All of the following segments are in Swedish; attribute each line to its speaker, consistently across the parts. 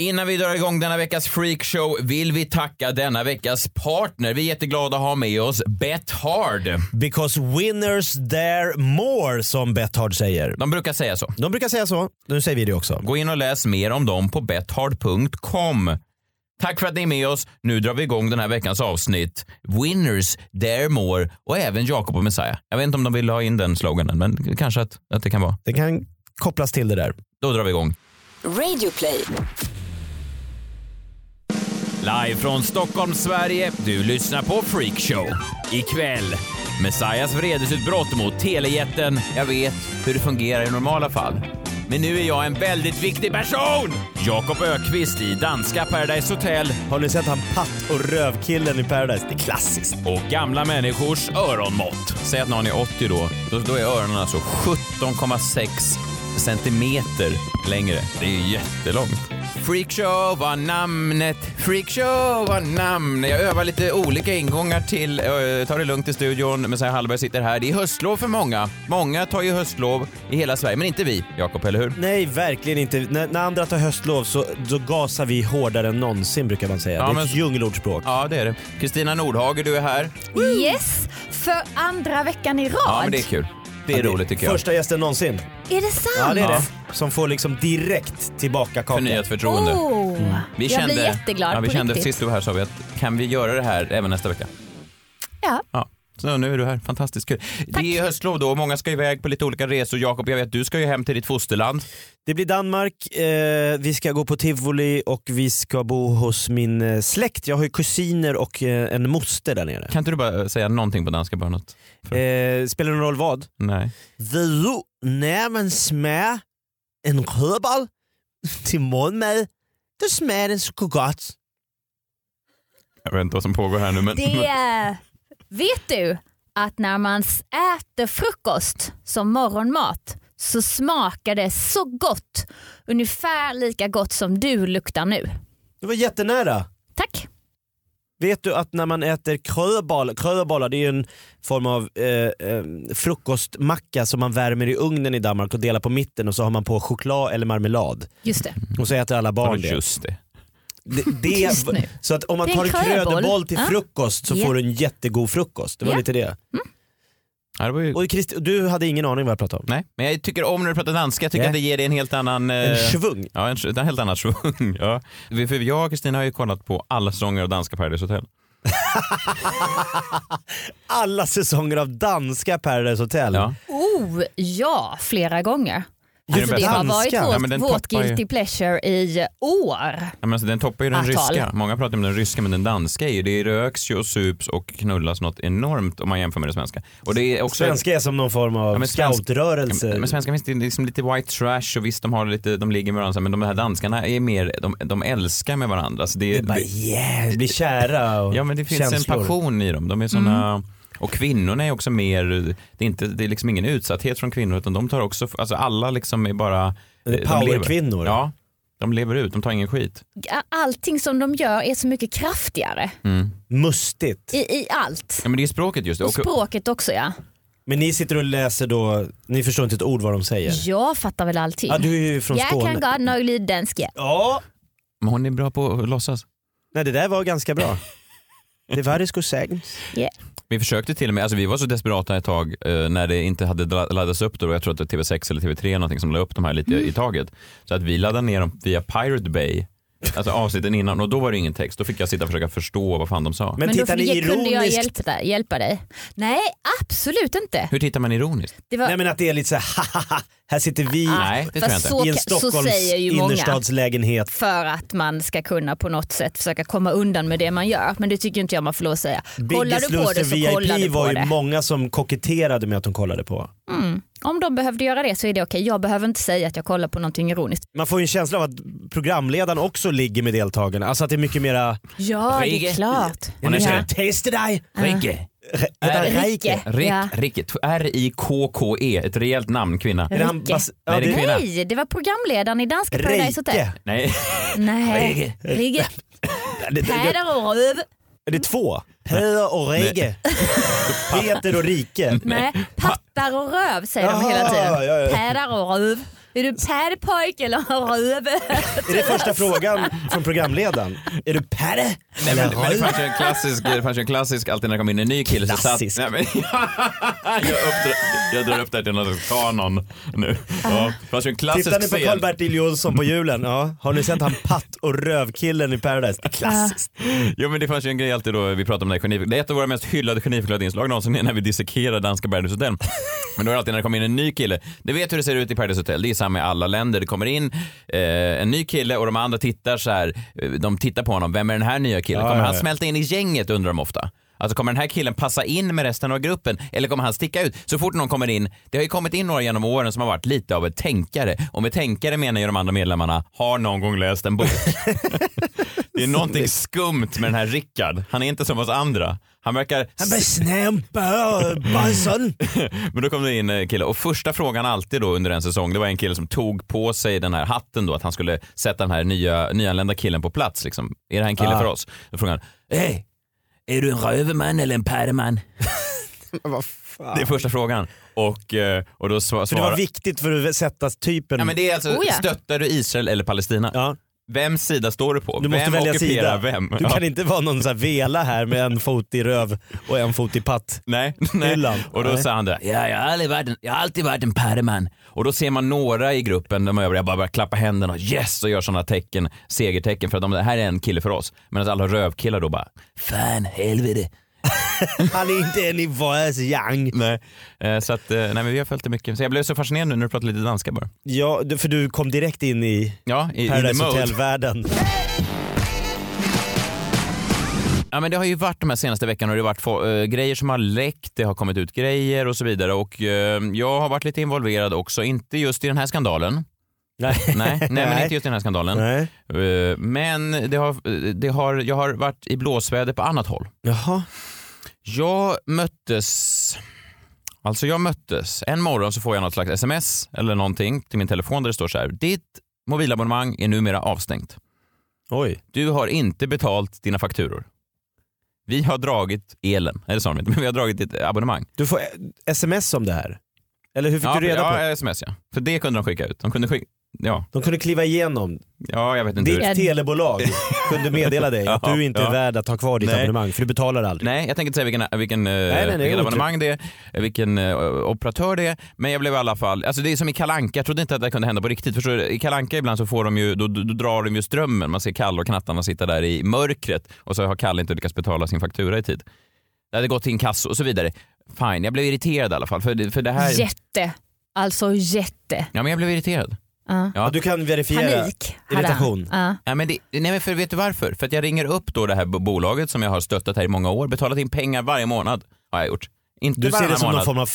Speaker 1: Innan vi drar igång denna veckas freakshow vill vi tacka denna veckas partner. Vi är jätteglada att ha med oss Bet Hard.
Speaker 2: Because winners dare more, som Betthard säger.
Speaker 1: De brukar säga så.
Speaker 2: De brukar säga så, nu säger vi det också.
Speaker 1: Gå in och läs mer om dem på bethard.com. Tack för att ni är med oss. Nu drar vi igång den här veckans avsnitt. Winners dare more och även Jakob och Messiah. Jag vet inte om de vill ha in den sloganen, men kanske att, att det kan vara.
Speaker 2: Det kan kopplas till det där.
Speaker 1: Då drar vi igång.
Speaker 3: Radioplay.
Speaker 1: Live från Stockholm, Sverige. Du lyssnar på Freakshow. Ikväll, Messias vredesutbrott mot telejätten. Jag vet hur det fungerar i normala fall. Men nu är jag en väldigt viktig person! Jakob Ökvist i danska Paradise Hotel
Speaker 2: Har ni sett han patt och rövkillen i Paradise? Det är klassiskt.
Speaker 1: och gamla människors öronmått. Säg att någon är 80 då. Då, då är öronen alltså 17,6 centimeter längre. Det är ju jättelångt. Freakshow var namnet, freakshow var namnet. Jag övar lite olika ingångar till eh, Ta det lugnt i studion. Messiah Hallberg sitter här. Det är höstlov för många. Många tar ju höstlov i hela Sverige, men inte vi, Jakob, eller hur?
Speaker 2: Nej, verkligen inte. När, när andra tar höstlov så, så gasar vi hårdare än någonsin brukar man säga.
Speaker 1: Ja,
Speaker 2: det är
Speaker 1: men-
Speaker 2: ett djungelordspråk.
Speaker 1: Ja, det är det. Kristina Nordhager, du är här.
Speaker 4: Yes, för andra veckan i rad.
Speaker 1: Ja, men det är kul. Det är roligt tycker jag.
Speaker 2: Första gästen någonsin.
Speaker 4: Är det sant?
Speaker 2: Ja, det är det. Som får liksom direkt tillbaka kakan.
Speaker 1: Förnyat förtroende.
Speaker 4: Oh.
Speaker 1: Mm. Vi
Speaker 4: jag
Speaker 1: kände,
Speaker 4: blir jätteglad
Speaker 1: ja, vi
Speaker 4: på
Speaker 1: kände
Speaker 4: riktigt.
Speaker 1: Sist du var här sa vi att kan vi göra det här även nästa vecka?
Speaker 4: Ja.
Speaker 1: Ja. Så nu är du här, fantastiskt kul. Det är höstlov då och många ska iväg på lite olika resor. Jakob, jag vet du ska ju hem till ditt fosterland.
Speaker 2: Det blir Danmark, eh, vi ska gå på tivoli och vi ska bo hos min eh, släkt. Jag har ju kusiner och eh, en moster där nere.
Speaker 1: Kan inte du bara säga någonting på danska? Bara något?
Speaker 2: Eh, spelar det någon roll vad?
Speaker 1: Nej.
Speaker 2: Vio nämen smär en rödboll till morgonmad, då smär den så gott.
Speaker 1: Jag vet inte vad som pågår här nu men...
Speaker 4: Det är, vet du att när man s- äter frukost som morgonmat så smakar det så gott. Ungefär lika gott som du luktar nu.
Speaker 2: Det var jättenära.
Speaker 4: Tack.
Speaker 2: Vet du att när man äter kröbal, kröbalar, det är ju en form av eh, eh, frukostmacka som man värmer i ugnen i Danmark och delar på mitten och så har man på choklad eller marmelad.
Speaker 4: Just det.
Speaker 1: Mm.
Speaker 2: Och så äter alla
Speaker 1: Vadå,
Speaker 2: barn det.
Speaker 1: Just det.
Speaker 2: det, det
Speaker 4: Tyst nu.
Speaker 2: så att om man
Speaker 4: Det är
Speaker 2: tar
Speaker 4: en
Speaker 2: en
Speaker 4: krödboll.
Speaker 2: krödeboll till
Speaker 4: Ja.
Speaker 2: frukost så
Speaker 4: Ja.
Speaker 2: får du en jättegod frukost. Det var
Speaker 4: Ja.
Speaker 2: lite det.
Speaker 1: Ja, det var ju...
Speaker 2: Och Christ, du hade ingen aning vad jag pratade om?
Speaker 1: Nej, men jag tycker om när du pratar danska. Jag tycker
Speaker 2: Nej.
Speaker 1: att det ger dig en helt annan... eh,
Speaker 2: En svung.
Speaker 1: Ja, en, sch- en helt annan svung. Ja. Vi- För jag och Kristina har ju kollat på alla säsonger av danska Paradise Hotel.
Speaker 2: Alla säsonger av danska Paradise Hotel.
Speaker 1: Ja.
Speaker 4: Oh ja, flera gånger.
Speaker 2: Just
Speaker 4: Alltså, det har
Speaker 2: danska.
Speaker 4: varit
Speaker 2: Ja,
Speaker 4: vårt,
Speaker 1: men den
Speaker 4: vårt
Speaker 1: toppar ju-
Speaker 4: guilty pleasure i år.
Speaker 1: Ja, men alltså, den toppar ju den
Speaker 4: Attal.
Speaker 1: ryska. Många pratar om den ryska men den danska är ju, det röks ju och sups och knullas något enormt om man jämför med det svenska. Och det är också...
Speaker 2: Svenska är som någon form av
Speaker 1: Ja, men svensk-
Speaker 2: scoutrörelse.
Speaker 1: Ja, Men svenska finns det liksom lite white trash och visst de har lite, de ligger med varandra men de här danskarna är mer, de, de älskar med varandra. Så det,
Speaker 2: det är bara yeah, blir kära och
Speaker 1: ja men det finns
Speaker 2: känslor.
Speaker 1: en passion i dem. De är såna, och kvinnorna är också mer, det är, inte, det är liksom ingen utsatthet från kvinnor utan de tar också, alltså alla liksom är bara...
Speaker 2: Det är
Speaker 1: eh, de lever.
Speaker 2: powerkvinnor.
Speaker 1: Ja, de lever ut, de tar ingen skit.
Speaker 4: allting som de gör är så mycket kraftigare
Speaker 2: Mustigt.
Speaker 4: i, i allt.
Speaker 1: Ja men det är språket just det.
Speaker 4: Och språket också ja.
Speaker 2: Men ni sitter och läser då, ni förstår inte ett ord vad de säger?
Speaker 4: Jag fattar väl allting.
Speaker 2: Ja, du är ju från
Speaker 4: jag
Speaker 2: Skåne.
Speaker 4: kan god nog lite danska.
Speaker 2: Ja,
Speaker 1: men hon är bra på att låtsas.
Speaker 2: nej det där var ganska bra. Det var det skulle sägas.
Speaker 1: Vi försökte till och med, alltså vi var så desperata ett tag eh, när det inte hade la- laddats upp då, jag tror att det var TV6 eller TV3 eller någonting som la upp de här lite i taget. Så att vi laddade ner dem via Pirate Bay, alltså avsnitten innan och då var det ingen text, då fick jag sitta och försöka förstå vad fan de sa.
Speaker 2: Men,
Speaker 4: Men då
Speaker 2: tittar ni
Speaker 4: fick- kunde jag
Speaker 2: ironiskt?
Speaker 4: hjälpa dig, hjälpa dig? Nej absolut inte.
Speaker 1: Hur tittar man ironiskt?
Speaker 4: Det var,
Speaker 2: Nej men att det är lite såhär, här sitter vi
Speaker 1: Nej, det tror jag
Speaker 4: fast
Speaker 1: inte.
Speaker 4: Ah. så,
Speaker 2: i en
Speaker 4: ka- så
Speaker 2: Stockholms
Speaker 4: säger ju många.
Speaker 2: innerstadslägenhet.
Speaker 4: För att man ska kunna på något sätt försöka komma undan med det man gör. Men det tycker inte jag man får lov att säga. Kollar
Speaker 2: Biggest
Speaker 4: du på
Speaker 2: Loser
Speaker 4: det så kollar
Speaker 2: VIP
Speaker 4: du
Speaker 2: var
Speaker 4: på
Speaker 2: ju
Speaker 4: det.
Speaker 2: många som koketterade med att de kollade på.
Speaker 4: Om de behövde göra det så är det okej. Jag behöver inte säga att jag kollar på någonting ironiskt.
Speaker 2: Man får ju en känsla av att programledaren också ligger med deltagarna. Alltså att det är mycket mera...
Speaker 4: Ja det
Speaker 1: Rige.
Speaker 4: är klart.
Speaker 1: Hon är
Speaker 4: Ja.
Speaker 1: känd.
Speaker 2: Testa dig!
Speaker 1: Rike,
Speaker 2: Heter han
Speaker 1: Reike.
Speaker 2: Reike?
Speaker 1: Rick,
Speaker 4: Ja.
Speaker 1: Rick, R-I-K-K-E, E. ett rejält namn kvinna.
Speaker 2: Är det han bas- ja,
Speaker 1: Nej, det är
Speaker 2: det-
Speaker 1: kvinna.
Speaker 4: Nej, det var programledaren i Danska Paradise Hotel.
Speaker 2: Reike?
Speaker 1: Nej,
Speaker 4: Nej,
Speaker 1: Reike.
Speaker 4: Rigge.
Speaker 2: Det- det-
Speaker 4: Päder och röv.
Speaker 2: Är det två? Peder och Reige. Peter och Rike.
Speaker 4: Nej, pattar och röv säger de
Speaker 2: Jaha,
Speaker 4: hela
Speaker 2: ja, ja.
Speaker 4: tiden. Päder och röv. Är du pädpojk eller röv?
Speaker 2: Är det första frågan från programledaren? Är du Perre?
Speaker 1: nej men, men det
Speaker 2: Eller-
Speaker 1: fanns ju en klassisk, det fanns ju en klassisk alltid när det kom in en ny kille
Speaker 2: Klassisk.
Speaker 1: så satt... Nej, men, jag, uppdra, jag drar upp det här till någon slags kanon nu. Ja, det fanns ju en klassisk
Speaker 2: Tittar ni på
Speaker 1: scen.
Speaker 2: Karl-Bertil Jonsson på julen? Ja. Har ni sett han patt och rövkillen i Paradise? Det är Klassiskt.
Speaker 1: Jo men det fanns ju en grej alltid då vi pratade om det här geni- Det är ett av våra mest hyllade geniförklarade inslag någonsin när vi dissekerar danska Paradise Hotel. Men då är det alltid när det kommer in en ny kille. Ni vet hur det ser ut i Paradise Hotel. Det är samma i alla länder. Det kommer in eh, en ny kille och de andra tittar så här. eh, De tittar på honom. Vem är den här nya killen?
Speaker 2: Ja,
Speaker 1: Kommer
Speaker 2: ja,
Speaker 1: han
Speaker 2: ja.
Speaker 1: smälta in i gänget undrar de ofta. Alltså kommer den här killen passa in med resten av gruppen eller kommer han sticka ut? Så fort någon kommer in, det har ju kommit in några genom åren som har varit lite av ett tänkare. Och med tänkare menar ju de andra medlemmarna, har någon gång läst en bok. Det är någonting skumt med den här Rickard. Han är inte som oss andra. Han verkar...
Speaker 2: Han bara snämpa Barsson.
Speaker 1: Men då kom det in en kille och första frågan alltid då under en säsong det var en kille som tog på sig den här hatten då att han skulle sätta den här nya, nyanlända killen på plats liksom. Är det här en kille
Speaker 2: Ah.
Speaker 1: för oss? Då frågade han, hej, är du en röverman eller en pärleman?
Speaker 2: Vad fan.
Speaker 1: Det är första frågan. Och, eh, och då sva-
Speaker 2: För det var
Speaker 1: svarade...
Speaker 2: viktigt för att sätta typen.
Speaker 1: Ja, men det är alltså,
Speaker 4: Oh, ja.
Speaker 1: stöttar du Israel eller Palestina?
Speaker 2: Ja,
Speaker 1: Vems sida står du på?
Speaker 2: du måste
Speaker 1: vem
Speaker 2: välja sida.
Speaker 1: ockuperar vem?
Speaker 2: Du
Speaker 1: Ja.
Speaker 2: kan inte vara någon så här vela här med en fot i röv och en fot i patt.
Speaker 1: Nej, nej.
Speaker 2: Hyllan.
Speaker 1: Och då
Speaker 2: Nej.
Speaker 1: sa han det. Ja, jag har, aldrig varit en, jag har alltid varit en pärman. Och då ser man några i gruppen, de övriga bara börjar klappa händerna och yes och gör sådana tecken, segertecken för att de, det här är en kille för oss. Medan alla rövkillar då bara, fan helvete.
Speaker 2: Han är inte en i våras yang.
Speaker 1: Nej. Eh, så att, eh, nej men vi har följt det mycket. Så jag blev så fascinerad nu när du pratade lite danska bara.
Speaker 2: Ja, du- för du kom direkt in i
Speaker 1: Ja, i, i the
Speaker 2: Paradise
Speaker 1: mode.
Speaker 2: Hotel-världen.
Speaker 1: Ja men det har ju varit de här senaste veckorna och det har varit få, eh, grejer som har läckt, det har kommit ut grejer och så vidare och eh, jag har varit lite involverad också, inte just i den här skandalen.
Speaker 2: Nej.
Speaker 1: Nej, nej, men inte just i den här skandalen.
Speaker 2: Nej.
Speaker 1: Eh, Men det har, det har, jag har varit i blåsväder på annat håll.
Speaker 2: Jaha.
Speaker 1: Jag möttes, alltså jag möttes, en morgon så får jag något slags sms eller någonting till min telefon där det står så här, ditt mobilabonnemang är numera avstängt.
Speaker 2: Oj.
Speaker 1: Du har inte betalt dina fakturor. Vi har dragit elen, eller sa de inte, men vi har dragit ditt abonnemang.
Speaker 2: Du får eh, sms om det här? Eller hur fick
Speaker 1: ja,
Speaker 2: du reda
Speaker 1: ja,
Speaker 2: på?
Speaker 1: sms ja. För det kunde de skicka ut. De kunde skicka, ja,
Speaker 2: De kunde kliva igenom.
Speaker 1: ja jag vet inte hur.
Speaker 2: Ditt telebolag kunde meddela dig att
Speaker 1: Ja,
Speaker 2: du inte
Speaker 1: ja.
Speaker 2: är värd att ha kvar ditt
Speaker 1: Nej.
Speaker 2: abonnemang för du betalar aldrig.
Speaker 1: Nej, jag tänker inte säga vilken, vilken, eh,
Speaker 2: Typ. nej, det är
Speaker 1: vilken
Speaker 2: otur.
Speaker 1: abonnemang det är, vilken eh, operatör det är, men jag blev i alla fall, alltså det är som i Kalanka, jag trodde inte att det här kunde hända på riktigt. Förstår du? I Kalanka ibland så får de ju, då, då, då drar de ju strömmen, man ser Kalle och knattarna sitta där i mörkret och så har Kalle inte lyckats betala sin faktura i tid. Det hade gått till inkasso och så vidare. Fine, jag blev irriterad i alla fall för, det- för det här...
Speaker 4: Jätte. Alltså jätte.
Speaker 1: Ja, men jag blev irriterad.
Speaker 4: Ja.
Speaker 1: Ja.
Speaker 2: Du kan verifiera.
Speaker 4: Panik. hade han.
Speaker 2: Irritation.
Speaker 4: Ja.
Speaker 1: Ja, men det, nej, men för vet du varför? För att jag ringer upp då det här bo- bolaget som jag har stöttat här i många år, betalat in pengar varje månad har jag gjort. Inte
Speaker 2: Du ser det
Speaker 1: varannan
Speaker 2: som någon
Speaker 1: månad.
Speaker 2: form av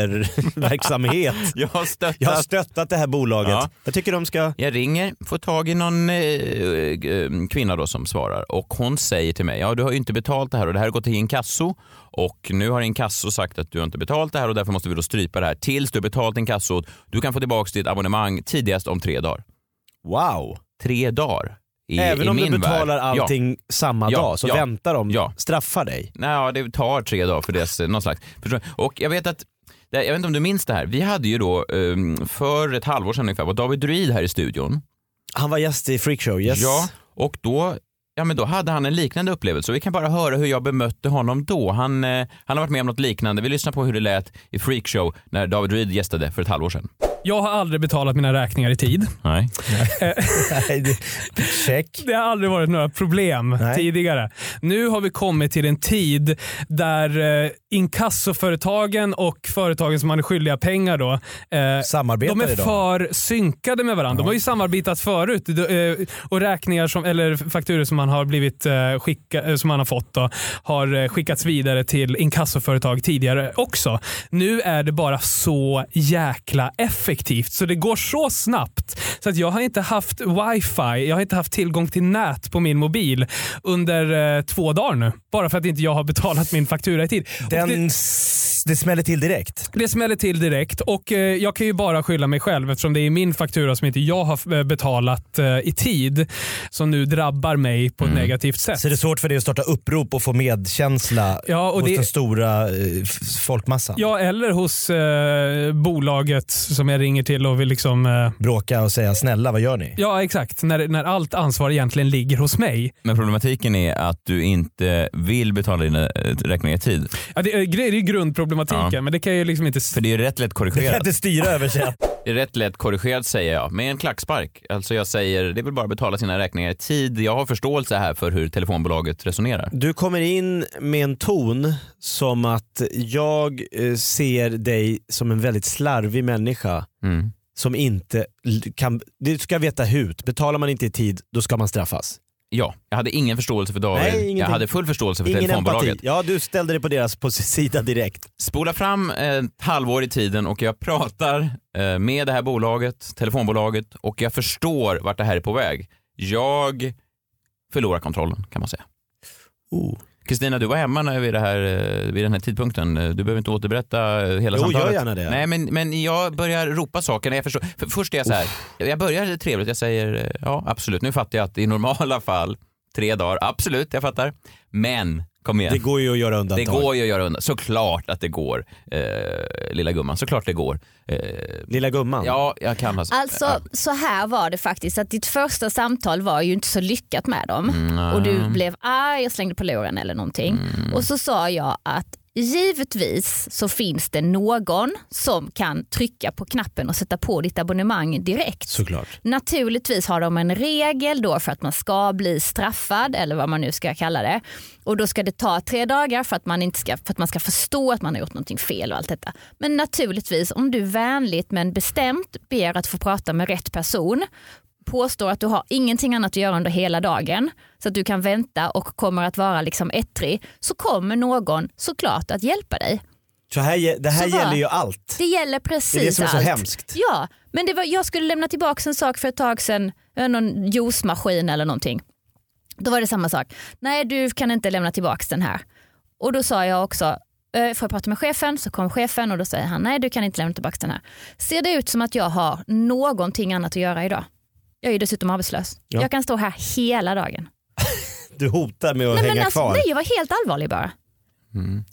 Speaker 2: fadderverksamhet.
Speaker 1: Jag har stöttat
Speaker 2: Jag har stöttat det här bolaget.
Speaker 1: Ja.
Speaker 2: Jag tycker de ska...
Speaker 1: Jag ringer, får tag i någon eh, eh, kvinna då som svarar och hon säger till mig, ja du har ju inte betalt det här och det här har gått till inkasso och nu har inkasso sagt att du har inte betalt det här och därför måste vi då strypa det här tills du har betalt inkassot. Du kan få tillbaka ditt abonnemang tidigast om tre dagar.
Speaker 2: Wow!
Speaker 1: Tre dagar? I,
Speaker 2: Även
Speaker 1: i
Speaker 2: om
Speaker 1: min
Speaker 2: du betalar
Speaker 1: värld. Ja.
Speaker 2: allting samma
Speaker 1: Ja,
Speaker 2: dag så
Speaker 1: ja,
Speaker 2: väntar de,
Speaker 1: ja.
Speaker 2: straffar dig.
Speaker 1: Nej, ja, det tar tre dagar för det, någon slags. Förstår du? Och jag vet att, det- jag vet inte om du minns det här, vi hade ju då ehm, för ett halvår sedan ungefär var David Druid här i studion.
Speaker 2: Han var gäst i Freakshow, yes.
Speaker 1: Ja, och då, ja, men då hade han en liknande upplevelse. Och vi kan bara höra hur jag bemötte honom då. Han, eh, han har varit med om något liknande. Vi lyssnar på hur det lät i Freakshow när David Reed gästade för ett halvår sedan.
Speaker 3: Jag har aldrig betalat mina räkningar i tid.
Speaker 1: Nej.
Speaker 2: Nej, det- Check.
Speaker 3: Det har aldrig varit några problem
Speaker 2: Nej.
Speaker 3: tidigare. Nu har vi kommit till en tid där eh, inkassoföretagen och företagen som man är skyldiga pengar då, eh,
Speaker 2: Samarbetar
Speaker 3: de är
Speaker 2: idag.
Speaker 3: för synkade med varandra. De har ju samarbetat förut de, eh, och räkningar som, eller fakturor som man har blivit eh, skicka, eh, som man har fått då, har eh, skickats vidare till inkassoföretag tidigare också. Nu är det bara så jäkla effektivt så det går så snabbt. Så att jag har inte haft wifi, jag har inte haft tillgång till nät på min mobil under eh, två dagar nu. Bara för att inte jag har betalat min faktura i tid. Och
Speaker 2: Den,
Speaker 3: det-
Speaker 2: s- det smäller till direkt.
Speaker 3: det smäller till direkt och eh, jag kan ju bara skylla mig själv eftersom det är min faktura som inte jag har f- eh, betalat eh, i tid som nu drabbar mig på ett negativt sätt.
Speaker 2: Mm. Så det är svårt för dig att starta upprop och få medkänsla
Speaker 3: Ja, och
Speaker 2: hos
Speaker 3: det-
Speaker 2: den stora eh, f- folkmassan.
Speaker 3: Ja, eller hos eh, bolaget som jag ringer till och vill liksom... Eh,
Speaker 2: Bråka och säga snälla vad gör ni?
Speaker 3: ja, exakt. När, när allt ansvar egentligen ligger hos mig.
Speaker 1: Men problematiken är att du inte vill betala dina eh, räkningar i tid.
Speaker 3: Ja, det, är, det är ju grundproblematiken,
Speaker 1: Ja.
Speaker 3: men det kan jag ju liksom inte... s-
Speaker 1: För det är rätt lätt
Speaker 2: Du kan
Speaker 1: korrigerat.
Speaker 2: inte styra över sig.
Speaker 1: Det är rätt lätt korrigerat säger jag, med en klackspark. Alltså jag säger, det är väl bara att betala sina räkningar i tid. Jag har förståelse här för hur telefonbolaget resonerar.
Speaker 2: Du kommer in med en ton som att jag eh, ser dig som en väldigt slarvig människa
Speaker 1: Mm.
Speaker 2: som inte l- kan... Du ska veta hut. Betalar man inte i tid, då ska man straffas.
Speaker 1: Ja, jag hade ingen förståelse för David.
Speaker 2: Nej, ingenting.
Speaker 1: jag hade full förståelse för
Speaker 2: Ingen
Speaker 1: telefonbolaget.
Speaker 2: empati. Ja, du ställde dig på deras på sida direkt.
Speaker 1: Spola fram ett halvår i tiden och jag pratar eh, med det här bolaget, telefonbolaget och jag förstår vart det här är på väg. Jag förlorar kontrollen kan man säga.
Speaker 2: Oh.
Speaker 1: Kristina, du var hemma när vid, det här, eh, vid den här tidpunkten. Eh, Du behöver inte återberätta eh, hela
Speaker 2: Jo,
Speaker 1: samtalet.
Speaker 2: gör gärna det.
Speaker 1: Nej, men, men jag börjar ropa saker. när Jag förstår. För först är jag så här, jag börjar trevligt. Jag säger eh, ja, absolut. Nu fattar jag att i normala fall, tre dagar, absolut, jag fattar. Men, kom igen.
Speaker 2: Det går ju att göra
Speaker 1: Det
Speaker 2: undantag.
Speaker 1: går ju att göra undan. Såklart att det går, eh, lilla gumman. Såklart det går. Eh,
Speaker 2: Lilla gumman.
Speaker 1: ja, jag kan alltså.
Speaker 4: Alltså så här var det faktiskt att ditt första samtal var ju inte så lyckat med dem och du blev arg och slängde på luren eller någonting och så sa jag att givetvis så finns det någon som kan trycka på knappen och sätta på ditt abonnemang direkt.
Speaker 2: Såklart.
Speaker 4: Naturligtvis har de en regel då för att man ska bli straffad eller vad man nu ska kalla det. Och då ska det ta tre dagar för att man, inte ska, för att man ska förstå att man har gjort någonting fel och allt detta. Men naturligtvis om du vänligt men bestämt ber att få prata med rätt person påstår att du har ingenting annat att göra under hela dagen så att du kan vänta och kommer att vara liksom ettrig så kommer någon såklart att hjälpa dig.
Speaker 2: Så här, ge- det här
Speaker 4: Så vad?
Speaker 2: gäller ju allt.
Speaker 4: Det gäller precis
Speaker 2: Det är det som är så
Speaker 4: allt.
Speaker 2: hemskt.
Speaker 4: Ja, men det var, jag skulle lämna tillbaka en sak för ett tag sedan, eh, någon juicemaskin eller någonting. Då var det samma sak. Nej, du kan inte lämna tillbaka den här. Och då sa jag också, eh, får jag prata med chefen? Så kom chefen och då säger han, nej du kan inte lämna tillbaka den här. Ser det ut som att jag har någonting annat att göra idag? Jag är ju dessutom arbetslös.
Speaker 2: Ja.
Speaker 4: Jag kan stå här hela dagen.
Speaker 2: Du hotar med att
Speaker 4: Nej, men
Speaker 2: hänga
Speaker 4: alltså,
Speaker 2: kvar.
Speaker 4: nej, jag var helt allvarlig bara.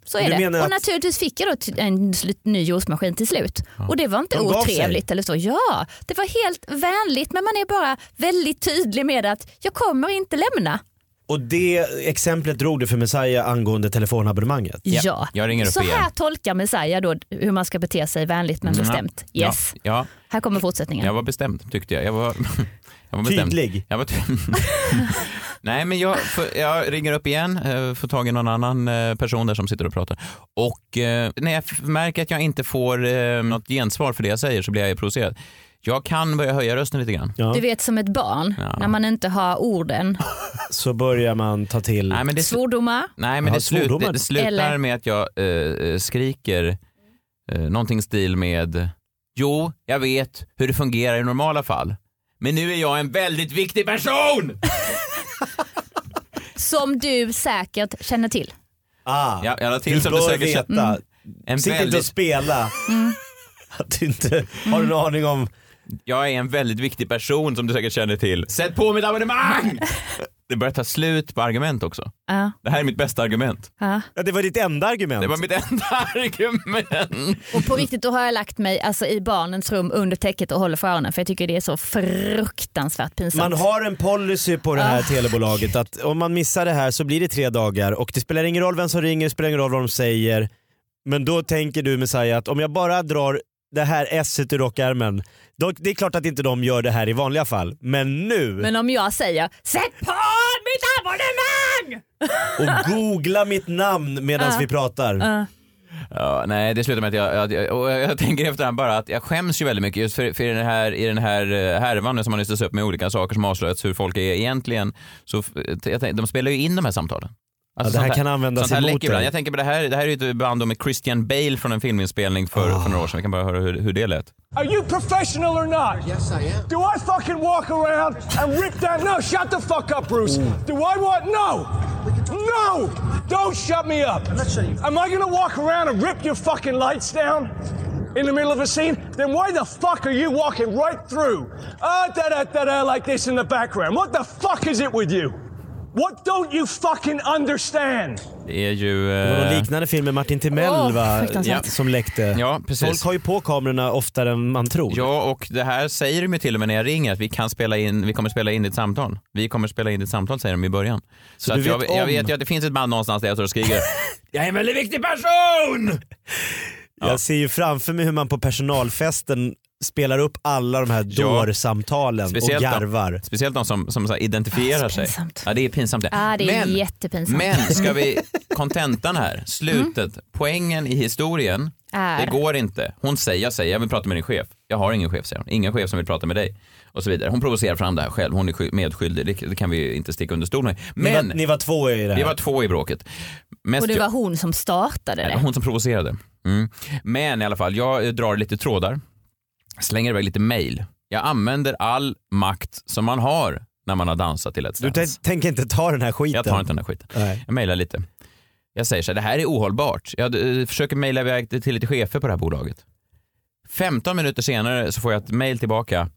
Speaker 4: Så
Speaker 2: Men
Speaker 4: är
Speaker 2: Mm. du
Speaker 4: det.
Speaker 2: menar
Speaker 4: Och
Speaker 2: att-
Speaker 4: naturligtvis fick jag då ty- en sl- ny juicemaskin till slut. Och det var inte
Speaker 2: De gav
Speaker 4: otrevligt eller så. Ja, det var helt vänligt men man är bara väldigt tydlig med att jag kommer inte lämna.
Speaker 2: Och det exemplet drog du för Messiah angående telefonabonnemanget.
Speaker 1: Ja,
Speaker 4: Ja.
Speaker 1: jag ringer upp
Speaker 4: så
Speaker 1: igen. Mm.
Speaker 4: här tolkar Messiah då hur man ska bete sig vänligt men bestämt.
Speaker 1: Ja,
Speaker 4: Yes.
Speaker 1: Ja,
Speaker 4: Här kommer fortsättningen.
Speaker 1: jag var bestämd tyckte jag. Jag var, jag var bestämd.
Speaker 2: Tydlig.
Speaker 1: Jag var ty- Nej, men jag, för, jag ringer upp igen, eh, får tag i någon annan eh, person där som sitter och pratar. Och eh, när jag f- märker att jag inte får eh, något gensvar för det jag säger så blir jag provocerad. Jag kan börja höja rösten lite grann.
Speaker 2: Ja.
Speaker 4: Du vet som ett barn
Speaker 1: Ja.
Speaker 4: när man inte har orden,
Speaker 2: Så börjar man ta till...
Speaker 1: Nej, men det,
Speaker 4: svordomar.
Speaker 1: Nej, men
Speaker 2: Jaha,
Speaker 1: det, slut,
Speaker 2: svordomar.
Speaker 1: det, det slutar
Speaker 4: Eller?
Speaker 1: med att jag eh, eh, skriker eh, någonting i stil med Jo, jag vet hur det fungerar i normala fall. Men nu är jag en väldigt viktig person!
Speaker 4: Som du säkert känner till.
Speaker 2: Ah,
Speaker 1: Ja, jag la till
Speaker 2: du
Speaker 1: som du Mm.
Speaker 2: bör
Speaker 1: säkert
Speaker 2: veta.
Speaker 1: känner.
Speaker 4: Mm.
Speaker 1: En
Speaker 2: Sitt inte och
Speaker 1: väldigt, Mm.
Speaker 2: spela. Att du inte har en aning om...
Speaker 1: jag är en väldigt viktig person som du säkert känner till. Sätt på mitt abonnemang! Det börjar ta slut på argument också.
Speaker 4: Ja,
Speaker 1: Det här är mitt bästa argument.
Speaker 4: ja.
Speaker 2: Ja, det var ditt enda argument.
Speaker 1: Det var mitt enda argument.
Speaker 4: Och på riktigt då har jag lagt mig alltså, i barnens rum under täcket och håller för öronen för jag tycker det är så fruktansvärt pinsamt.
Speaker 2: Man har en policy på det här
Speaker 1: Ah.
Speaker 2: telebolaget att om man missar det här så blir det tre dagar och det spelar ingen roll vem som ringer, det spelar ingen roll vad de säger. Men då tänker du Messiah att om jag bara drar det här esset ur rockärmen, då, det är klart att inte de gör det här i vanliga fall. Men nu,
Speaker 4: Men om jag säger “Sätt på mitt abonnemang!”
Speaker 2: och googla mitt namn medan
Speaker 1: Ah.
Speaker 2: vi pratar.
Speaker 1: Ja, nej, det slutar med att jag, jag, och jag tänker efterhand bara att jag skäms ju väldigt mycket just för, för i, den här, i den här eh, härvan nu som har nystats upp med olika saker som avslöjats hur folk är egentligen. Så f- jag tänker, de spelar ju in de här samtalen.
Speaker 2: det här
Speaker 1: Alltså, sånt
Speaker 2: kan användas
Speaker 1: sånt här
Speaker 2: emot
Speaker 1: läcker ibland.
Speaker 2: dig.
Speaker 1: Jag tänker på det här, det här är ju ett band med Christian Bale från en filminspelning för, för några år sedan. Vi kan bara höra hur, hur det lät.
Speaker 5: Are you professional or not? Yes, I am. Do I fucking walk around and rip down? No, shut the fuck up, Bruce. Do I want? No, no. Don't shut me up. I'm not shutting you. Am I gonna walk around and rip your fucking lights down in the middle of a scene? Then why the fuck are you walking right through? Ah, da da da da, like this in the background. What the fuck is it with you? What don't you fucking understand?
Speaker 1: Det är ju...
Speaker 2: Det var
Speaker 1: eh,
Speaker 2: någon liknande film med Martin Timell
Speaker 4: Åh,
Speaker 2: va?
Speaker 4: fruktansvärt.
Speaker 2: Ja, som läckte.
Speaker 1: Ja, precis.
Speaker 2: Folk har ju på kamerorna oftare än man tror.
Speaker 1: Ja, och det här säger de ju till och med när jag ringer att vi kan spela in, vi kommer spela in ditt samtal. Vi kommer spela in ditt samtal säger de i början. Så,
Speaker 2: du
Speaker 1: att jag,
Speaker 2: vet
Speaker 1: jag
Speaker 2: om-
Speaker 1: vet ju att det finns ett band någonstans där jag står och skriker Jag är en väldigt viktig person!
Speaker 2: Jag ser ju framför mig hur man på personalfesten spelar upp alla de här
Speaker 1: Ja.
Speaker 2: dårsamtalen och
Speaker 1: de-
Speaker 2: garvar.
Speaker 1: speciellt de som, som så här identifierar
Speaker 4: Ah, så
Speaker 1: sig.
Speaker 4: pinsamt.
Speaker 1: Ja, det är pinsamt.
Speaker 4: Ja, det är jättepinsamt.
Speaker 1: Men ska vi, kontentan här, slutet, poängen i historien,
Speaker 4: Är.
Speaker 1: det går inte. Hon säger, jag säger, jag vill prata med din chef. Jag har ingen chef, säger hon. Ingen chef som vill prata med dig. Och så vidare. Hon provocerar fram det här själv, hon är sky- medskyldig, det, det kan vi ju inte sticka under stol med.
Speaker 2: Ni, var,
Speaker 1: Men
Speaker 2: ni var två i det här.
Speaker 1: vi var två i bråket. Mest
Speaker 4: Och det var
Speaker 1: jag-
Speaker 4: hon som startade
Speaker 1: Nej,
Speaker 4: det.
Speaker 1: det var hon som provocerade. Mm. Men i alla fall, jag eh, drar lite trådar, slänger iväg lite mail. Jag använder all makt som man har när man har dansat till ett
Speaker 2: Du tän- tänker inte ta den här skiten?
Speaker 1: Jag tar inte den här skiten.
Speaker 2: Nej.
Speaker 1: Jag mejlar lite. Jag säger så här, det här är ohållbart. Jag eh, försöker mejla iväg det till lite chefer på det här bolaget. 15 minuter senare så får jag ett mejl tillbaka.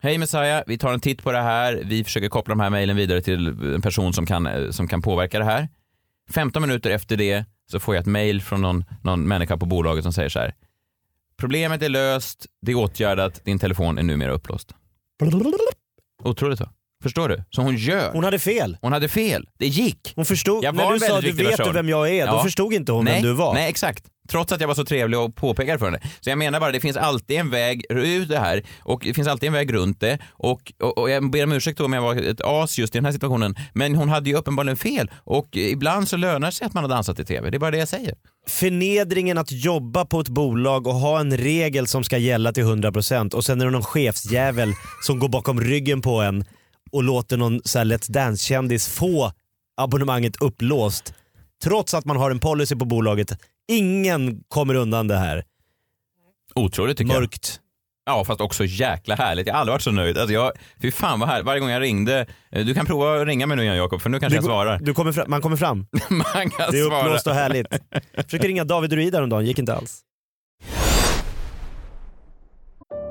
Speaker 1: Hej Messiah, vi tar en titt på det här. Vi försöker koppla de här mejlen vidare till en person som kan, eh, som kan påverka det här. 15 minuter efter det så får jag ett mejl från någon, någon människa på bolaget som säger så här. Problemet är löst, det är åtgärdat, din telefon är numera upplåst. Otroligt va? Förstår du? Så hon gör.
Speaker 2: Hon hade fel.
Speaker 1: Hon hade fel. Det gick.
Speaker 2: Hon förstod.
Speaker 1: Jag var
Speaker 2: När du
Speaker 1: en
Speaker 2: sa
Speaker 1: väldigt
Speaker 2: du
Speaker 1: viktig
Speaker 2: vet du
Speaker 1: person."
Speaker 2: vem jag är, då
Speaker 1: Ja.
Speaker 2: förstod inte hon
Speaker 1: nej,
Speaker 2: vem du var.
Speaker 1: Nej, exakt. Trots att jag var så trevlig och påpekade för henne. Så jag menar bara, det finns alltid en väg ut det här och det finns alltid en väg runt det. Och, och, och jag ber om ursäkt då om jag var ett as just i den här situationen. Men hon hade ju uppenbarligen fel och ibland så lönar det sig att man har dansat i tv. Det är bara det jag säger.
Speaker 2: Förnedringen att jobba på ett bolag och ha en regel som ska gälla till 100% och sen är det någon chefsjävel som går bakom ryggen på en och låter någon så här Let's Dance-kändis få abonnemanget upplåst. Trots att man har en policy på bolaget. Ingen kommer undan det här.
Speaker 1: Otroligt tycker jag.
Speaker 2: Mörkt.
Speaker 1: Ja, fast också jäkla härligt. Jag har aldrig varit så nöjd. Alltså jag, fy fan vad här. Varje gång jag ringde, eh, du kan prova att ringa mig nu igen Jakob för nu kanske jag
Speaker 2: Du-
Speaker 1: svarar.
Speaker 2: Du kommer fram, man kommer fram.
Speaker 1: Man kan
Speaker 2: Det är
Speaker 1: svara.
Speaker 2: upplåst och härligt. Försökte ringa David Ruid häromdagen, gick inte alls.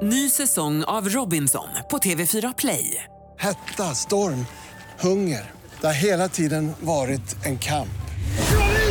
Speaker 6: Ny säsong av Robinson på TV4 Play.
Speaker 7: Hetta, storm, hunger. Det har hela tiden varit en kamp.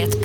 Speaker 8: Ett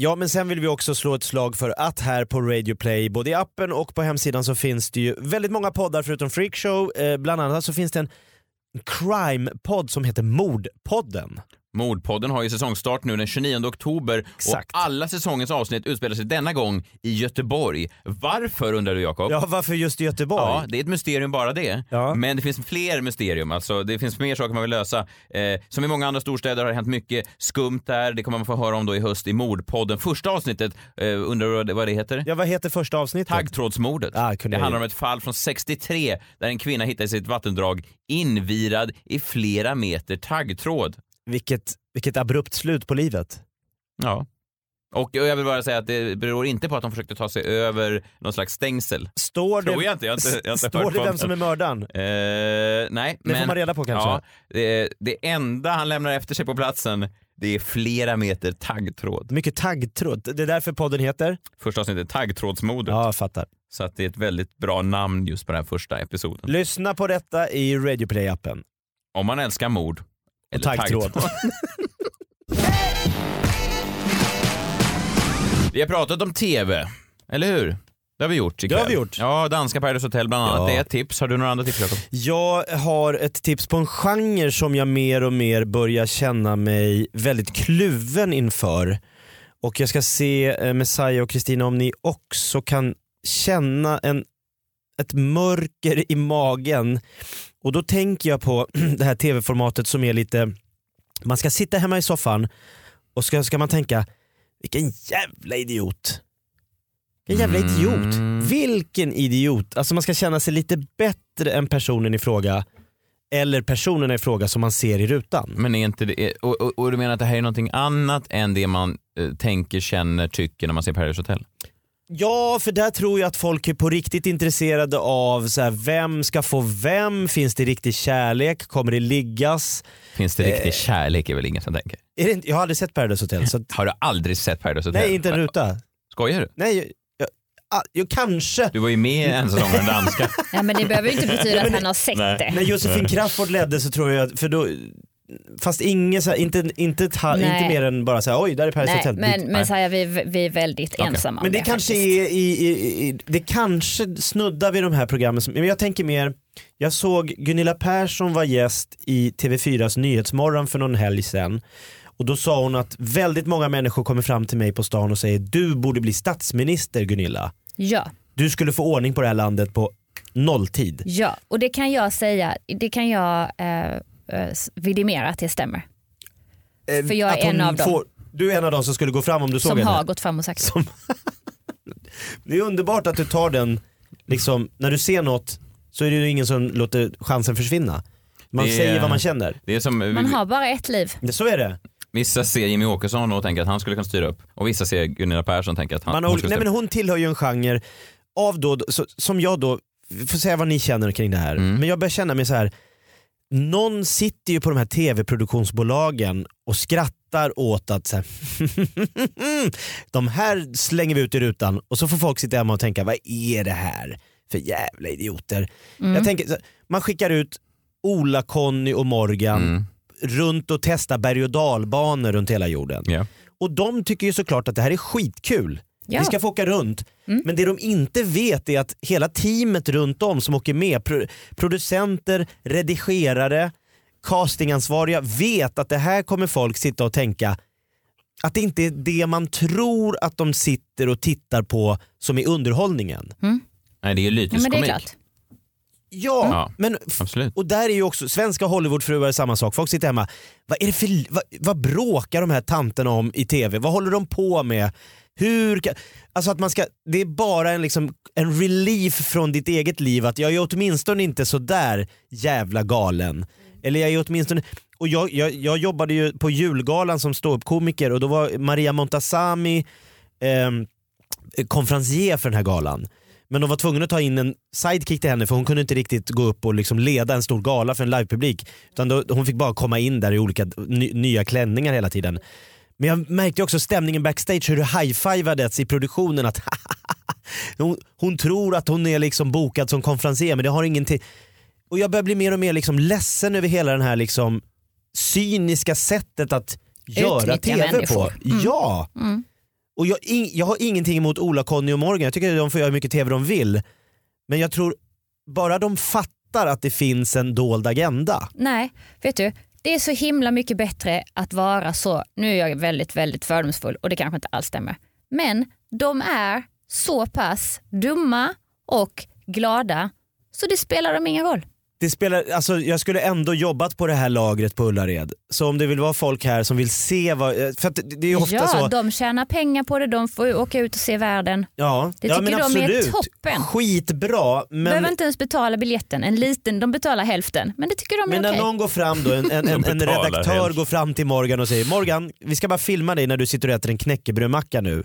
Speaker 2: Ja, men sen vill vi också slå ett slag för att här på Radio Play, både i appen och på hemsidan så finns det ju väldigt många poddar förutom Freakshow. Eh, bland annat så finns det en crime-podd som heter Mordpodden.
Speaker 1: Mordpodden har ju säsongstart nu den 29 oktober
Speaker 2: Exakt.
Speaker 1: och alla säsongens avsnitt utspelar sig denna gång i Göteborg. Varför undrar du Jakob?
Speaker 2: Ja, varför just i Göteborg?
Speaker 1: Ja, det är ett mysterium bara det.
Speaker 2: Ja.
Speaker 1: Men det finns fler mysterium, alltså det finns mer saker man vill lösa. Eh, som i många andra storstäder har det hänt mycket skumt där. Det kommer man få höra om då i höst i Mordpodden. Första avsnittet, eh, undrar du vad det- vad det heter?
Speaker 2: Ja, vad heter första avsnittet?
Speaker 1: Taggtrådsmordet.
Speaker 2: Ah, kunde
Speaker 1: det
Speaker 2: jag
Speaker 1: handlar
Speaker 2: ju.
Speaker 1: om ett fall från 63 där en kvinna hittades i ett vattendrag invirad i flera meter taggtråd.
Speaker 2: Vilket, vilket abrupt slut på livet.
Speaker 1: Ja. Och och jag vill bara säga att det beror inte på att de försökte ta sig över någon slags stängsel.
Speaker 2: Står det,
Speaker 1: Tror jag inte, jag har inte, jag har inte
Speaker 2: står
Speaker 1: hört
Speaker 2: det
Speaker 1: på-
Speaker 2: vem som är mördaren?
Speaker 1: Eh, nej,
Speaker 2: Det får man reda på kanske.
Speaker 1: Ja, det, det enda han lämnar efter sig på platsen det är flera meter taggtråd.
Speaker 2: Mycket taggtråd. Det är därför podden heter?
Speaker 1: Första avsnittet är taggtrådsmordet.
Speaker 2: Ja, jag fattar.
Speaker 1: Så att det är ett väldigt bra namn just på den här första episoden.
Speaker 2: Lyssna på detta i Radio Play-appen.
Speaker 1: Om man älskar mord. eller
Speaker 2: taggtråd.
Speaker 1: Vi har pratat om TV. Eller hur? Det har vi gjort ikväll.
Speaker 2: Det har vi gjort.
Speaker 1: Ja, danska Paradise Hotel bland annat.
Speaker 2: Ja.
Speaker 1: Det är ett tips. Har du några andra tips Jakob?
Speaker 2: Jag har ett tips på en genre som jag mer och mer börjar känna mig väldigt kluven inför. Och jag ska se eh, Messiah och Kristina om ni också kan känna en, ett mörker i magen. Och då tänker jag på det här tv-formatet som är lite, man ska sitta hemma i soffan och ska, ska man tänka, vilken jävla idiot. Vilken jävla idiot. Vilken idiot. Alltså man ska känna sig lite bättre än personen i fråga. Eller personerna i fråga som man ser i rutan.
Speaker 1: Men är inte det, är- och, och, och du menar att det här är någonting annat än det man eh, tänker, känner, tycker när man ser Paradise Hotel?
Speaker 2: Ja, för där tror jag att folk är på riktigt intresserade av så här, vem ska få vem? Finns det riktig kärlek? Kommer det liggas?
Speaker 1: Finns
Speaker 2: Eh.
Speaker 1: det riktig kärlek är väl ingen som tänker.
Speaker 2: Är det inte, jag har aldrig sett Paradise Hotel. Så att,
Speaker 1: Har du aldrig sett Paradise Hotel?
Speaker 2: nej, inte en ruta.
Speaker 1: Skojar du?
Speaker 2: Nej, jag, jag, ah, jag kanske.
Speaker 1: Du var ju med en säsong med den danska.
Speaker 4: Ja, men det behöver ju inte betyda att han har sett det.
Speaker 2: När Josefin Crafoord ledde så tror jag, för då, fast ingen, så här, inte, inte, ett, ha-
Speaker 4: Nej.
Speaker 2: inte mer än bara så här, oj där är Paradise
Speaker 4: Nej,
Speaker 2: Hotel.
Speaker 4: men
Speaker 2: Dit-
Speaker 4: men så här, vi, vi är väldigt ensamma om
Speaker 2: Men det,
Speaker 4: faktiskt.
Speaker 2: kanske är i, i, i, det kanske snuddar vid de här programmen som, men jag tänker mer, jag såg Gunilla Persson var gäst i TV4s Nyhetsmorgon för någon helg sedan och då sa hon att väldigt många människor kommer fram till mig på stan och säger du borde bli statsminister Gunilla.
Speaker 4: Ja,
Speaker 2: Du skulle få ordning på det här landet på nolltid.
Speaker 4: ja, och det kan jag säga, det kan jag eh, eh, vidimera att det stämmer. För jag är
Speaker 2: Eh, Att hon
Speaker 4: en av dem.
Speaker 2: får- Du är en av dem som skulle gå fram om du såg
Speaker 4: Som
Speaker 2: henne.
Speaker 4: har gått fram och sagt
Speaker 2: Som- Det är underbart att du tar den, liksom, när du ser något så är det ju ingen som låter chansen försvinna. Man
Speaker 1: Det är-
Speaker 2: säger vad man känner.
Speaker 1: Det är som eh,
Speaker 4: man
Speaker 1: vi-
Speaker 4: har bara ett liv.
Speaker 2: Det- Så är det.
Speaker 1: vissa ser Jimmy Åkesson och tänker att han skulle kunna styra upp och vissa ser Gunilla Persson och tänker att han,
Speaker 2: Man har,
Speaker 1: hon
Speaker 2: olika-
Speaker 1: skulle
Speaker 2: nej,
Speaker 1: styra
Speaker 2: men
Speaker 1: upp.
Speaker 2: hon tillhör ju en genre av då, så, som jag då, vi får säga vad ni känner kring det här,
Speaker 1: Mm.
Speaker 2: men jag börjar känna mig så här. någon sitter ju på de här tv-produktionsbolagen och skrattar åt att så här, de här slänger vi ut i rutan och så får folk sitta hemma och tänka vad är det här för jävla idioter. Jag tänker, så här, man skickar ut Ola, Conny och Morgan
Speaker 1: Mm.
Speaker 2: runt och testar berg och dalbanor runt hela jorden.
Speaker 1: Ja.
Speaker 2: Och de tycker ju såklart att det här är skitkul.
Speaker 4: Ja.
Speaker 2: Vi ska få åka runt. Men det de inte vet är att hela teamet runt om som åker med, pro producenter, redigerare, castingansvariga vet att det här kommer folk sitta och tänka att det inte är det man tror att de sitter och tittar på som är underhållningen.
Speaker 1: Nej, det är ju
Speaker 4: Ja, men det är
Speaker 1: lyteskomik.
Speaker 4: klart.
Speaker 2: Ja,
Speaker 1: Ja,
Speaker 2: men
Speaker 1: absolut.
Speaker 2: och där är ju också svenska Hollywoodfruar samma sak. Folk sitter hemma, vad, är det för, vad, vad bråkar de här tanterna om i tv? Vad håller de på med? Hur kan, alltså att man ska, det är bara en, liksom, en relief från ditt eget liv att jag är åtminstone inte så där jävla galen. Eller jag är åtminstone... Och jag, jag, jag jobbade ju på julgalan som ståuppkomiker och då var Maria Montazami ehm, konferencier för den här galan. Men de var tvungna att ta in en sidekick till henne för hon kunde inte riktigt gå upp och liksom leda en stor gala för en livepublik. Utan då, hon fick bara komma in där i olika ny, nya klänningar hela tiden. Men jag märkte också stämningen backstage, hur det high-fivades i produktionen. Att hon, hon tror att hon är liksom bokad som konferencier men det har ingenting... Och jag börjar bli mer och mer liksom ledsen över hela den här liksom cyniska sättet att göra
Speaker 4: Utnyttja
Speaker 2: TV på.
Speaker 4: människor. Mm.
Speaker 2: Ja! Och jag, ing- jag har ingenting emot Ola, Conny och Morgan. Jag tycker att de får göra hur mycket TV de vill. Men jag tror bara de fattar att det finns en dold agenda.
Speaker 4: Nej, vet du, det är så himla mycket bättre att vara så, nu är jag väldigt, väldigt fördomsfull och det kanske inte alls stämmer, men de är så pass dumma och glada så det spelar dem ingen roll.
Speaker 2: Det spelar, alltså, jag skulle ändå jobbat på det här lagret på Ullared. Så om det vill vara folk här som vill se vad... eh, För att det- det är ju ofta
Speaker 4: ja,
Speaker 2: så.
Speaker 4: de tjänar pengar på det, de får ju åka ut och se världen.
Speaker 2: Ja,
Speaker 4: Det
Speaker 2: ja
Speaker 4: tycker
Speaker 2: men
Speaker 4: de är
Speaker 2: absolut.
Speaker 4: toppen.
Speaker 2: Skitbra. Men,
Speaker 4: Behöver inte ens betala biljetten, en liten, de betalar hälften, men det tycker de är
Speaker 2: men när
Speaker 4: okej.
Speaker 2: någon går fram då, en, en, en, en
Speaker 1: betalar
Speaker 2: redaktör
Speaker 1: helt.
Speaker 2: går fram till Morgan och säger Morgan, vi ska bara filma dig när du sitter och äter en knäckebrödmacka nu.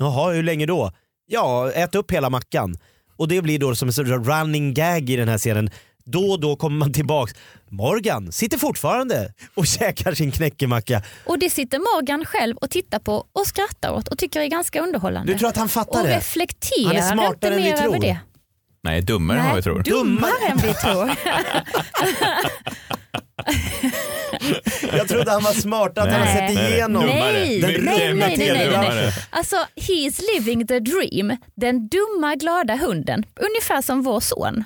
Speaker 2: Jaha, hur länge då? Ja, ät upp hela mackan. Och det blir då som en sorts running gag i den här scenen. Då och då kommer man tillbaks. Morgan sitter fortfarande och käkar sin knäckemacka.
Speaker 4: Och det sitter Morgan själv och tittar på och skrattar åt och tycker är ganska underhållande.
Speaker 2: Du tror att han fattar
Speaker 4: och
Speaker 2: det?
Speaker 4: reflekterar
Speaker 2: Han är smartare
Speaker 4: inte
Speaker 2: än vi
Speaker 4: mer
Speaker 2: tror.
Speaker 4: över det.
Speaker 1: Nej, dummare än vad vi tror.
Speaker 4: Dummare än vi tror.
Speaker 2: Jag trodde han var smart, att han hade sett
Speaker 4: Nej.
Speaker 2: igenom
Speaker 4: Nej,
Speaker 2: den
Speaker 4: nej, nej,
Speaker 2: rena
Speaker 4: nej, nej,
Speaker 2: tv
Speaker 4: nej. Alltså, he is living the dream. Den dumma glada hunden. Ungefär som vår son.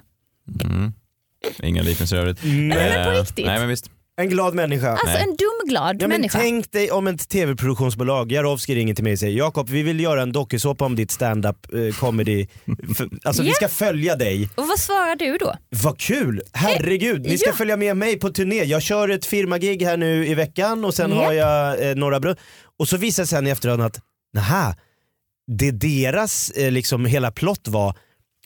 Speaker 1: Ingen liknelse i övrigt.
Speaker 4: Nej, men på
Speaker 1: Eh,
Speaker 4: riktigt.
Speaker 1: Nej men visst.
Speaker 2: En glad människa.
Speaker 4: Alltså
Speaker 1: Nej.
Speaker 4: en dumglad
Speaker 2: Ja, men
Speaker 4: människa.
Speaker 2: tänk dig om ett tv-produktionsbolag, Jarowski ringer till mig och säger Jakob vi vill göra en dokusåpa om ditt stand-up eh, comedy. F- Alltså vi
Speaker 4: Ja.
Speaker 2: ska följa dig.
Speaker 4: Och vad svarar du då?
Speaker 2: Vad kul! Herregud, ni ska
Speaker 4: Eh, ja.
Speaker 2: följa med mig på turné. Jag kör ett firmagig här nu i veckan och sen
Speaker 4: Japp.
Speaker 2: har jag eh, några bröd. Och så visar det sig sen i efterhand att, naha, det deras eh, liksom hela plott var,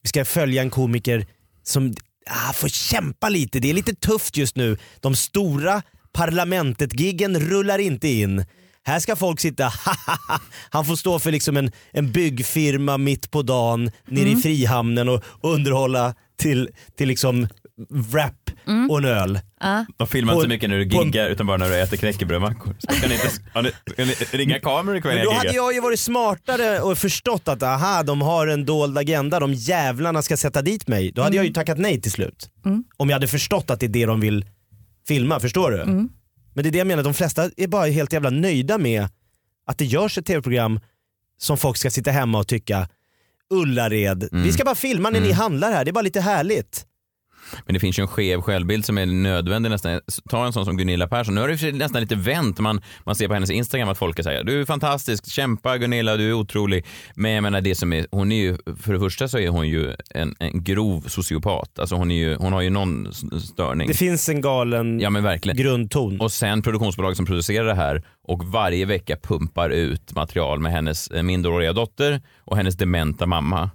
Speaker 2: vi ska följa en komiker som ah, får kämpa lite, det är lite tufft just nu. De stora parlamentet-giggen rullar inte in. Här ska folk sitta, han får stå för liksom en, en byggfirma mitt på dagen nere i Frihamnen och underhålla till, till liksom wrap och en öl.
Speaker 1: De filmar
Speaker 2: På-
Speaker 1: inte så mycket när du
Speaker 2: på-
Speaker 1: giggar utan bara när du äter knäckebrödmackor. Så Ska ni inte har ni, ska ni ringa kameror ikväll när
Speaker 2: Men då
Speaker 1: jag
Speaker 2: hade
Speaker 1: giggar?
Speaker 2: jag ju varit smartare och förstått att aha, de har en dold agenda, de jävlarna ska sätta dit mig. Då hade
Speaker 1: Mm.
Speaker 2: jag ju tackat nej till slut. Om jag hade förstått att det är det de vill filma, förstår du?
Speaker 1: Mm.
Speaker 2: Men det är det jag menar, de flesta är bara helt jävla nöjda med att det görs ett tv-program som folk ska sitta hemma och tycka Ullared,
Speaker 1: Mm.
Speaker 2: vi ska bara filma när ni handlar här, det är bara lite härligt.
Speaker 1: Men det finns ju en skev självbild som är nödvändig nästan. Ta en sån som Gunilla Persson. Nu har det i och för sig nästan lite vänt. Man, man ser på hennes Instagram att folk säger du är fantastisk, kämpa Gunilla, du är otrolig. Men jag menar det som är, hon är ju, för det första så är hon ju en, en grov sociopat. Alltså hon, är ju, hon har ju någon s- störning.
Speaker 2: Det finns en galen
Speaker 1: Ja men verkligen.
Speaker 2: grundton.
Speaker 1: Och sen produktionsbolaget som producerar det här och varje vecka pumpar ut material med hennes eh, minderåriga dotter och hennes dementa mamma.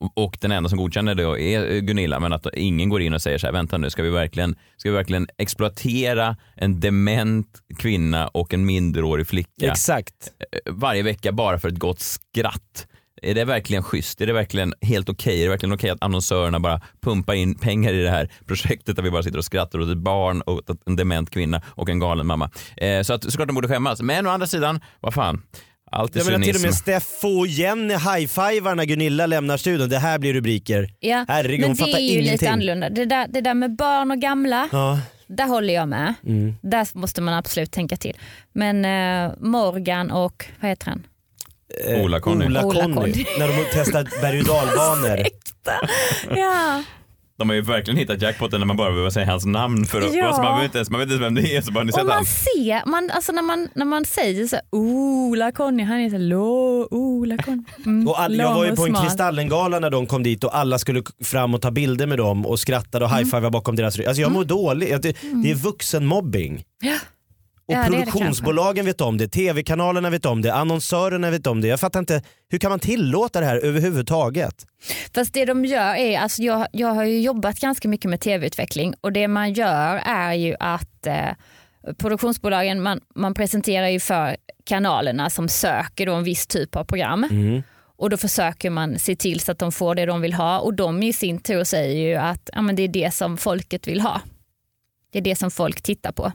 Speaker 1: Och- Och den enda som godkänner det är eh, Gunilla, men att ingen går in och säger så här, vänta nu, ska vi verkligen, ska vi verkligen exploatera en dement kvinna och en minderårig flicka
Speaker 2: Exakt.
Speaker 1: eh, varje vecka bara för ett gott skratt? Är det verkligen schysst? Är det verkligen helt okej? Är det verkligen okej att annonsörerna bara pumpar in pengar i det här projektet där vi bara sitter och skrattar åt ett barn och åt en dement kvinna och en galen mamma? Eh, så att, såklart de borde skämmas. Men å andra sidan, vad fan. Allt är
Speaker 2: Jag menar till och
Speaker 1: cynism.
Speaker 2: med Steffo och Jenny high-fivar när Gunilla lämnar studion. Det här blir rubriker.
Speaker 4: Ja,
Speaker 2: Herregud,
Speaker 4: men
Speaker 2: hon
Speaker 4: det
Speaker 2: fattar
Speaker 4: är ju
Speaker 2: ingenting.
Speaker 4: lite annorlunda. Det där, det där med barn och gamla,
Speaker 2: Ja. Mm.
Speaker 4: där håller jag med. Där måste man absolut tänka till. Men eh, Morgan och, vad heter han?
Speaker 2: Eh,
Speaker 1: Ola-Conny.
Speaker 2: Ola-Conny.
Speaker 4: Ola-Conny.
Speaker 2: När de testar berg och dalbanor.
Speaker 4: Ja.
Speaker 1: De har ju verkligen hittat jackpoten när man bara behöver säga hans namn. För att,
Speaker 4: Ja.
Speaker 1: alltså man, vet inte ens, man vet inte vem det är så bara har ni
Speaker 4: Och
Speaker 1: sett
Speaker 4: man
Speaker 1: han.
Speaker 4: ser, man, alltså när, man, när man säger så här, Ola-Conny, han är så här, "Lo- Ola-Conny. Mm,
Speaker 2: Och all, jag
Speaker 4: lång
Speaker 2: var ju
Speaker 4: och
Speaker 2: på en
Speaker 4: smal.
Speaker 2: Kristallengala när de kom dit och alla skulle k- fram och ta bilder med dem och skrattade
Speaker 4: Mm.
Speaker 2: och high-fivade bakom deras rygg. Alltså jag mår dåligt. Jag- Det, det är vuxenmobbing.
Speaker 4: Ja.
Speaker 2: Och
Speaker 4: Ja, det är det
Speaker 2: produktionsbolagen vet om det, tv-kanalerna vet om det, annonsörerna vet om det. Jag fattar inte, hur kan man tillåta det här överhuvudtaget?
Speaker 4: Fast det de gör är, alltså jag, jag har ju jobbat ganska mycket med tv-utveckling och det man gör är ju att eh, produktionsbolagen, man, man presenterar ju för kanalerna som söker då en viss typ av program.
Speaker 2: Mm.
Speaker 4: Och då försöker man se till så att de får det de vill ha och de i sin tur säger ju att ja, men det är det som folket vill ha. Det är det som folk tittar på.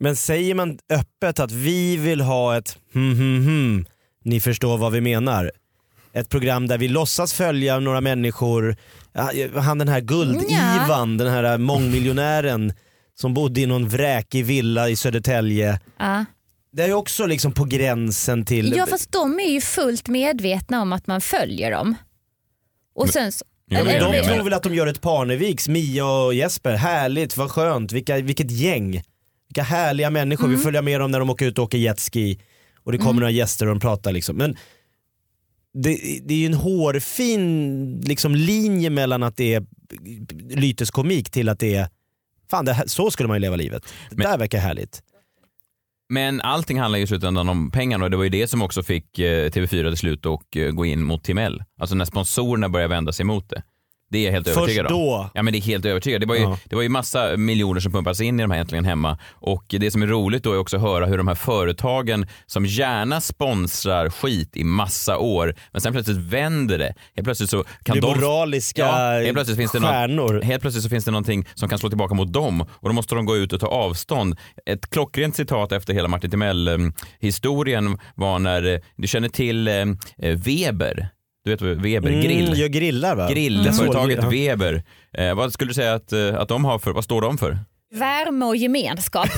Speaker 2: Men säger man öppet att vi vill ha ett hm hm hm, ni förstår vad vi menar. Ett program där vi låtsas följa några människor, Ja, han den här guld-Ivan, den här mångmiljonären som bodde i någon vräkig villa i Södertälje.
Speaker 4: Ja.
Speaker 2: Det är ju också liksom på gränsen till...
Speaker 4: Ja fast de är ju fullt medvetna om att man följer dem. Och sen så,
Speaker 2: Ja, men
Speaker 4: eller-
Speaker 2: de
Speaker 1: men-
Speaker 2: tror väl att de gör ett Parneviks, Mia och Jesper. Härligt, vad skönt, Vilka, vilket gäng. Vilka härliga människor.
Speaker 1: Mm.
Speaker 2: Vi följer med dem när de åker ut och åker jetski och det kommer några gäster och de pratar liksom. Men det, det är ju en hårfin liksom, linje mellan att det är lyteskomik till att det är Fan, det här, så skulle man ju leva livet. Det
Speaker 1: Men-
Speaker 2: där verkar härligt.
Speaker 1: Men allting handlar ju i slutändan om pengarna och det var ju det som också fick eh, TV4 till slut och eh, gå in mot Timell. Alltså när sponsorerna började vända sig mot det. Det är jag helt
Speaker 2: Först
Speaker 1: övertygad om.
Speaker 2: då.
Speaker 1: Ja men det är helt övertygad. Det var, ju,
Speaker 2: Ja.
Speaker 1: det var ju massa miljoner som pumpades in i de här Äntligen Hemma. Och det som är roligt då är också att höra hur de här företagen som gärna sponsrar skit i massa år, men sen plötsligt vänder det. Helt plötsligt så kan
Speaker 2: Det är
Speaker 1: de...
Speaker 2: moraliska
Speaker 1: helt plötsligt finns det någon-
Speaker 2: stjärnor.
Speaker 1: Helt plötsligt så finns det någonting som kan slå tillbaka mot dem och då måste de gå ut och ta avstånd. Ett klockrent citat efter hela Martin Timell-historien var när, eh, du känner till eh, eh, Weber, du vet vad Weber, grill.
Speaker 2: Mm, gör grillar va?
Speaker 1: Grillföretaget
Speaker 2: Mm.
Speaker 1: Weber. Eh, vad skulle du säga att, eh, att de har för, vad står de för?
Speaker 4: Värme och gemenskap.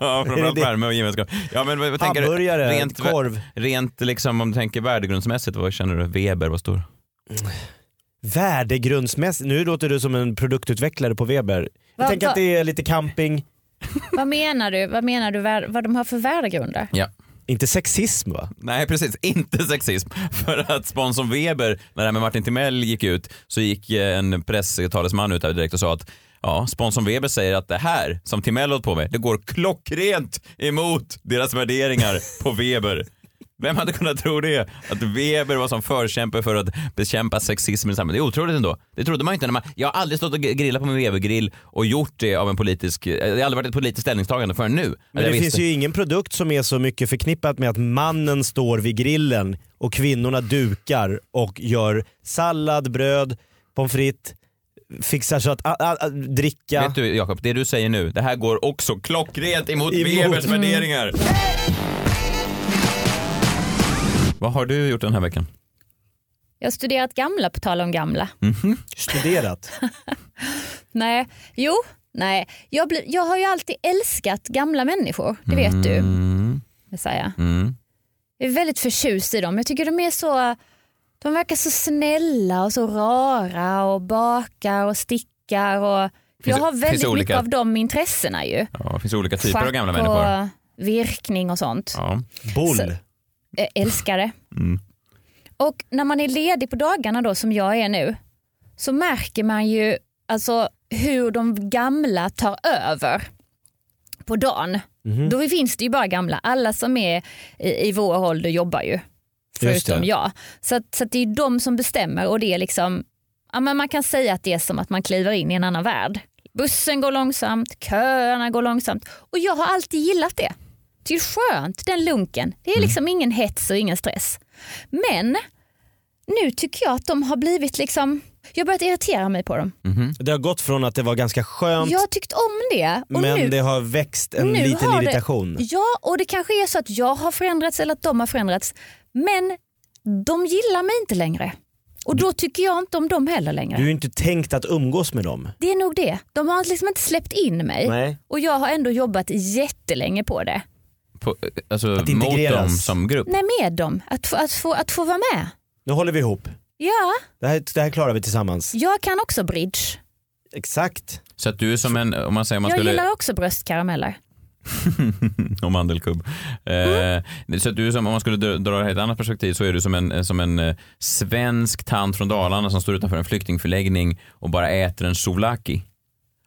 Speaker 1: Ja, framförallt
Speaker 2: det-
Speaker 1: värme och gemenskap. Ja, men vad, vad tänker du?
Speaker 2: Hamburgare,
Speaker 1: Rent, vä-
Speaker 2: korv.
Speaker 1: rent liksom om du tänker värdegrundsmässigt, vad känner du? Weber, vad står
Speaker 2: Värdegrundsmässigt, nu låter du som en produktutvecklare på Weber. Jag
Speaker 4: Vad-
Speaker 2: tänker att
Speaker 4: vad-
Speaker 2: det är lite camping,
Speaker 4: vad menar du? Vad menar du vär- vad de har för värdegrunder?
Speaker 1: Ja.
Speaker 2: inte sexism va?
Speaker 1: Nej, precis. Inte sexism. För att sponsorn Weber, när det här med Martin Timell gick ut, så gick eh, en presstalesman ut här direkt och sa att ja, sponsorn Weber säger att det här som Timell hållit på med, det går klockrent emot deras värderingar på Weber. Vem hade kunnat tro det? Att Weber var som förkämpe för att bekämpa sexism i samhället. Det är otroligt ändå. Det trodde man ju inte. När man, jag har aldrig stått och grillat på min Weber-grill och gjort det av en politisk... Det har aldrig varit ett politiskt ställningstagande förrän nu.
Speaker 2: Men det finns ju ingen produkt som är så mycket förknippat med att mannen står vid grillen och kvinnorna dukar och gör sallad, bröd, pommes frites, fixar så att, a, a, a, dricka.
Speaker 1: Vet du Jakob, det du säger nu, det här går också klockrent emot
Speaker 2: Emot.
Speaker 1: Webers
Speaker 2: Mm.
Speaker 1: värderingar. Vad har du gjort den här veckan?
Speaker 4: Jag har studerat gamla på tal om gamla.
Speaker 1: Mm.
Speaker 2: Studerat.
Speaker 4: Nej, jo, nej. Jag, blir- jag har ju alltid älskat gamla människor, det vet du.
Speaker 1: Mm,
Speaker 4: Messiah.
Speaker 1: mm.
Speaker 4: Jag är väldigt förtjust i dem. Jag tycker de är så, de verkar så snälla och så rara och bakar och stickar. Och, jag
Speaker 1: det-
Speaker 4: har
Speaker 1: finns det
Speaker 4: väldigt
Speaker 1: olika-
Speaker 4: mycket av de intressena ju.
Speaker 1: Ja, det finns olika typer av gamla
Speaker 4: Schack
Speaker 1: människor.
Speaker 4: och virkning och sånt.
Speaker 1: Ja.
Speaker 2: Boll.
Speaker 4: Så- Eh, Älskar det.
Speaker 1: Mm.
Speaker 4: Och när man är ledig på dagarna då som jag är nu så märker man ju alltså hur de gamla tar över på dagen.
Speaker 2: Mhm.
Speaker 4: Då finns det ju bara gamla. Alla som är i, i vår ålder jobbar ju.
Speaker 2: Just
Speaker 4: Förutom
Speaker 2: det.
Speaker 4: jag. Så, att, så att det är ju de som bestämmer och det är liksom, ja, men man kan säga att det är som att man kliver in i en annan värld. Bussen går långsamt, köerna går långsamt och jag har alltid gillat det. Det är ju skönt, den lunken. Det
Speaker 2: Mm.
Speaker 4: är liksom ingen hets och ingen stress. Men nu tycker jag att de har blivit liksom, jag har börjat irritera mig på dem.
Speaker 2: Det har gått från att det var ganska skönt
Speaker 4: Jag har tyckt om det och
Speaker 2: men
Speaker 4: nu
Speaker 2: det har växt en
Speaker 4: nu
Speaker 2: liten
Speaker 4: har
Speaker 2: irritation.
Speaker 4: Det, ja, och det kanske är så att jag har förändrats eller att de har förändrats. Men de gillar mig inte längre. Och då tycker jag inte om dem heller längre.
Speaker 2: Du är ju inte tänkt att umgås med dem.
Speaker 4: Det är nog det. De har liksom inte släppt in mig.
Speaker 2: Nej.
Speaker 4: Och jag har ändå jobbat jättelänge på det.
Speaker 1: På, alltså
Speaker 2: Att
Speaker 1: mot
Speaker 2: integreras.
Speaker 1: dem som grupp.
Speaker 4: Nej, med dem. Att få, att få, att få vara med.
Speaker 2: Nu håller vi ihop.
Speaker 4: Ja,
Speaker 2: Det här, det här klarar vi tillsammans.
Speaker 4: jag kan också bridge.
Speaker 2: Exakt.
Speaker 1: Så att du är som en, om man säger om man
Speaker 4: Jag
Speaker 1: skulle...
Speaker 4: gillar också bröstkarameller.
Speaker 1: om mandelkubb. Eh, Så att du som, om man skulle dra- dra det ett annat perspektiv så är du som en, som en eh, svensk tant från Dalarna som står utanför en flyktingförläggning och bara äter en souvlaki.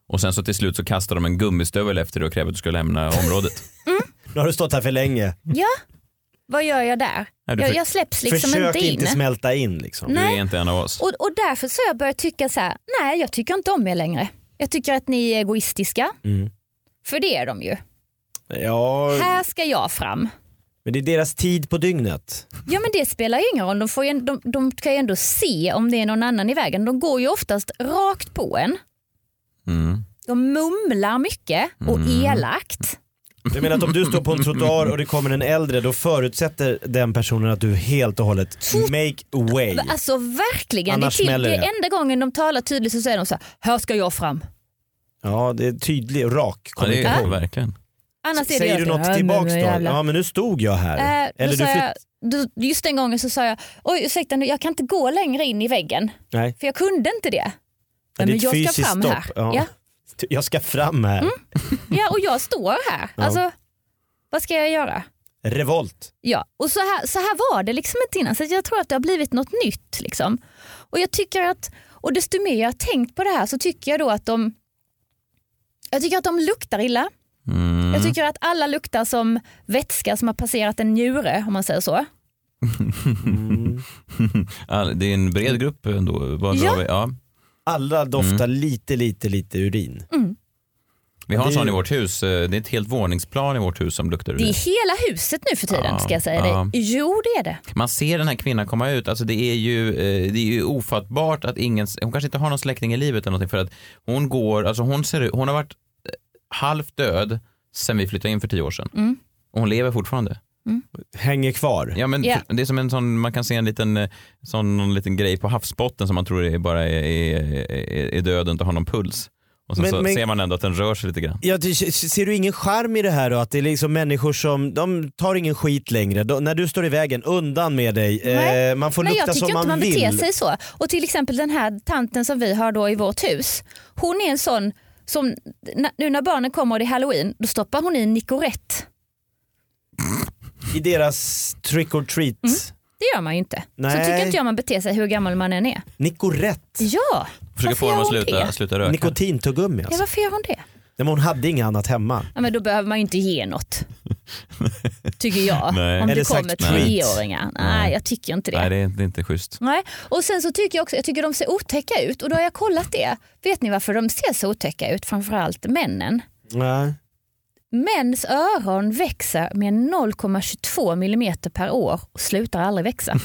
Speaker 1: Och sen så till slut så kastar de en gummistövel efter dig och kräver att du ska lämna området.
Speaker 2: Nu har du stått här för länge.
Speaker 4: Ja, vad gör jag där?
Speaker 1: Nej, du
Speaker 4: jag,
Speaker 1: för-
Speaker 4: jag släpps liksom
Speaker 2: Försök
Speaker 4: inte in.
Speaker 2: inte smälta in liksom.
Speaker 1: Du
Speaker 4: Nej.
Speaker 1: är inte en av oss.
Speaker 4: Och, och därför så har jag börjat tycka så här, nej jag tycker inte om er längre. Jag tycker att ni är egoistiska.
Speaker 2: Mm.
Speaker 4: För det är de ju.
Speaker 2: Ja,
Speaker 4: Här ska jag fram.
Speaker 2: men det är deras tid på dygnet.
Speaker 4: Ja men det spelar ju ingen roll, de, får ju, de, de kan ju ändå se om det är någon annan i vägen. De går ju oftast rakt på en.
Speaker 1: Mm.
Speaker 4: De mumlar mycket och
Speaker 2: Mm.
Speaker 4: elakt.
Speaker 2: Jag menar att om du står på en trottoar och det kommer en äldre då förutsätter den personen att du helt och hållet make way.
Speaker 4: Alltså verkligen,
Speaker 2: Annars
Speaker 4: det är, till,
Speaker 2: smäller
Speaker 4: det
Speaker 2: det.
Speaker 4: är enda gången de talar tydligt så säger de så här, här ska jag fram.
Speaker 2: Ja det är tydlig och rak
Speaker 1: Ja, det är
Speaker 2: kommunikation.
Speaker 1: det verkligen.
Speaker 4: Annars är det
Speaker 2: Säger
Speaker 4: ju
Speaker 2: du
Speaker 4: alltid,
Speaker 2: något
Speaker 4: "Ja, men
Speaker 2: tillbaks då?
Speaker 4: jävlar."
Speaker 2: Ja men nu stod jag här.
Speaker 4: Eh, då
Speaker 2: Eller du
Speaker 4: sa
Speaker 2: flytt...
Speaker 4: jag, då- just den gången så sa jag, oj ursäkta nu, jag kan inte gå längre in i väggen
Speaker 2: Nej.
Speaker 4: för jag kunde inte det.
Speaker 2: Ja,
Speaker 4: Nej,
Speaker 2: det är
Speaker 4: men
Speaker 2: ett
Speaker 4: jag ska
Speaker 2: fysiskt
Speaker 4: fram
Speaker 2: stopp.
Speaker 4: här.
Speaker 2: Ja.
Speaker 4: Ja. Mm.
Speaker 2: Jag ska fram här.
Speaker 4: ja och jag står här.
Speaker 2: Ja.
Speaker 4: Alltså, vad ska jag göra?
Speaker 2: Revolt.
Speaker 4: Ja, och så här, så här var det liksom inte innan. Så jag tror att det har blivit något nytt. Liksom. Och jag tycker att, och desto mer jag har tänkt på det här så tycker jag då att de, jag tycker att de luktar illa.
Speaker 1: Mm.
Speaker 4: Jag tycker att alla luktar som vätska som har passerat en njure om man säger så.
Speaker 1: Ja, Det är en bred grupp ändå. Vad drar
Speaker 4: Ja.
Speaker 1: vi? Ja.
Speaker 2: Alla
Speaker 1: Mm.
Speaker 2: doftar lite lite lite urin.
Speaker 4: Mm.
Speaker 1: Vi har en
Speaker 2: Det är
Speaker 1: sån i
Speaker 2: ju-
Speaker 1: vårt hus. Eh, Det är ett helt våningsplan i vårt hus som luktar
Speaker 4: Det
Speaker 1: urin.
Speaker 4: är hela huset nu för tiden
Speaker 1: Ja,
Speaker 4: ska jag säga dig.
Speaker 1: ja.
Speaker 4: Jo det är det.
Speaker 1: Man ser den här kvinnan komma ut, alltså det är ju, eh, det är ju ofattbart att ingen, hon kanske inte har någon släkting i livet eller någonting för att hon går, alltså hon ser ut- hon har varit eh, halvt död sen vi flyttade in för tio år sedan.
Speaker 4: Mm.
Speaker 1: Och hon lever fortfarande.
Speaker 2: Hänger kvar.
Speaker 1: Ja, men
Speaker 4: Ja.
Speaker 1: Det är som en sån, man kan se en liten, eh, sån, någon liten grej på havsbotten som man tror är bara är, är, är, är död och inte har någon puls. Och sen
Speaker 2: Men-
Speaker 1: så
Speaker 2: men-
Speaker 1: ser man ändå att den rör sig lite grann.
Speaker 2: Ja, du, ser du ingen charm i det här då? Att det är liksom människor som, de tar ingen skit längre. De, när du står i vägen, undan med dig.
Speaker 4: Nej.
Speaker 2: Eh, man får
Speaker 4: Nej,
Speaker 2: lukta
Speaker 4: jag tycker
Speaker 2: som man,
Speaker 4: inte man beter
Speaker 2: vill.
Speaker 4: sig så. Och till exempel den här tanten som vi har då i vårt hus. Hon är en sån som, n- nu när barnen kommer och det är halloween, då stoppar hon i en Nicorette.
Speaker 2: I deras trick or treat.
Speaker 4: Mm. Det gör man ju inte. Så
Speaker 2: Nej.
Speaker 4: tycker inte jag man beter sig hur gammal man än är.
Speaker 2: Nicorette.
Speaker 4: Ja,
Speaker 1: Försöker få
Speaker 4: gör
Speaker 1: dem att
Speaker 4: hon
Speaker 1: sluta,
Speaker 4: det?
Speaker 1: sluta röka.
Speaker 2: Nikotintuggummi
Speaker 4: ja
Speaker 2: alltså.
Speaker 4: varför gör hon det?
Speaker 2: Nej, men hon hade inget annat hemma.
Speaker 4: Ja, men då behöver man ju inte ge något. Tycker jag.
Speaker 1: Nej.
Speaker 4: Om
Speaker 2: Eller
Speaker 4: det kommer
Speaker 2: sagt treat.
Speaker 4: treåringar. Nej,
Speaker 1: Nej.
Speaker 4: jag tycker inte det.
Speaker 1: Nej, det är, det är inte schysst.
Speaker 4: Nej. Och sen så tycker jag också, jag tycker de ser otäcka ut och då har jag kollat det. Vet ni varför de ser så otäcka ut? Framförallt männen.
Speaker 2: Nej.
Speaker 4: Mäns öron växer med 0,22 millimeter per år och slutar aldrig växa.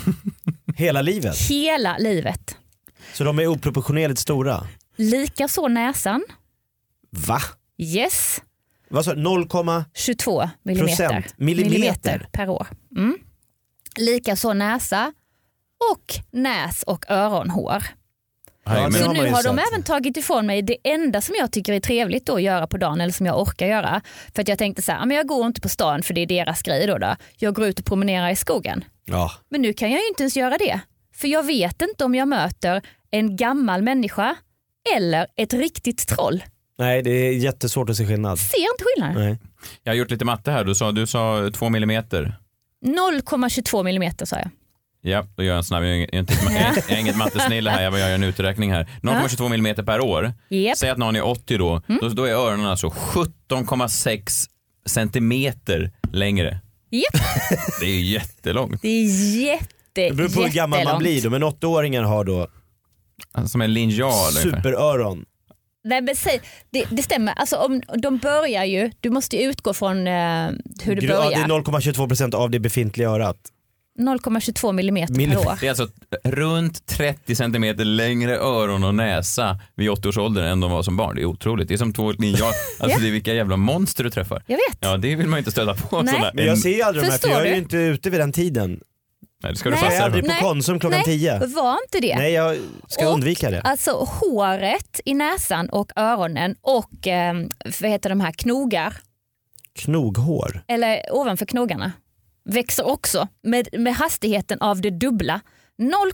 Speaker 2: Hela livet.
Speaker 4: Hela livet.
Speaker 2: Så de är oproportionerligt stora.
Speaker 4: Likaså näsan.
Speaker 2: Va?
Speaker 4: Yes,
Speaker 2: Vad sa du? 0,
Speaker 4: 22 millimeter,
Speaker 2: Procent. Millimeter.
Speaker 4: per år. Mm. Likaså näsa och näs och öronhår.
Speaker 2: Ja,
Speaker 1: Nej,
Speaker 2: det
Speaker 4: Så
Speaker 1: men,
Speaker 2: har man
Speaker 4: nu
Speaker 2: ju
Speaker 4: har de
Speaker 2: sett.
Speaker 4: även tagit ifrån mig det enda som jag tycker är trevligt då att göra på dagen eller som jag orkar göra. För att jag tänkte så här, "Ah, men jag går inte på stan för det är deras grej då. då. Jag går ut och promenerar i skogen.
Speaker 2: Ja.
Speaker 4: Men nu kan jag ju inte ens göra det. För jag vet inte om jag möter en gammal människa eller ett riktigt troll.
Speaker 2: Nej, det är jättesvårt att se skillnad.
Speaker 4: Ser inte skillnaden.
Speaker 2: Nej.
Speaker 1: jag har gjort lite matte här. Du sa, du sa två millimeter.
Speaker 4: 0,22 millimeter sa jag.
Speaker 1: Ja, då gör jag en snabb. Jag är, inget- jag är, inte, jag är, jag är inget mattesnille här. Jag bara gör en uträkning här. 0,22 millimeter per år.
Speaker 4: Yep.
Speaker 1: Säg att någon är 80 då.
Speaker 2: Mm.
Speaker 1: Då, då är öronen alltså 17,6 centimeter längre.
Speaker 4: Yep.
Speaker 1: Det är ju jättelångt.
Speaker 4: Det är jätte,
Speaker 2: Det beror på hur gammal man
Speaker 4: jättelångt.
Speaker 2: blir då, men åttaåringar har då
Speaker 1: Alltså, Som en linjal. ungefär.
Speaker 2: superöron.
Speaker 4: Nej, men säg, det, det stämmer, alltså, om, de börjar ju, du måste ju utgå från eh, hur det
Speaker 2: Gra- det är
Speaker 4: börjar.
Speaker 2: 0,22% av det befintliga örat.
Speaker 4: 0,22 millimeter per
Speaker 2: Millimeter.
Speaker 4: år.
Speaker 1: Det är alltså runt 30 centimeter längre öron och näsa vid 80 års ålder än de var som barn. Det är otroligt. Det är som två linjal. Alltså det är vilka jävla monster du träffar.
Speaker 4: Jag vet.
Speaker 1: Ja, det vill man ju inte stöta på.
Speaker 4: Nej.
Speaker 1: sådana-
Speaker 2: Men jag ser ju aldrig de här för
Speaker 4: Förstår
Speaker 2: jag är ju
Speaker 4: du?
Speaker 2: inte ute vid den tiden.
Speaker 1: Nej, det ska du
Speaker 4: Nej.
Speaker 2: Jag är
Speaker 1: passa dig
Speaker 2: aldrig
Speaker 1: för.
Speaker 2: på
Speaker 4: Nej.
Speaker 2: Konsum klockan
Speaker 4: Nej.
Speaker 2: 10.
Speaker 4: Var inte det.
Speaker 2: Nej, jag ska
Speaker 4: Och-
Speaker 2: undvika det.
Speaker 4: Alltså håret i näsan och öronen och eh, vad heter de här knogar,
Speaker 2: Knoghår.
Speaker 4: eller ovanför knogarna, växer också med, med hastigheten av det dubbla.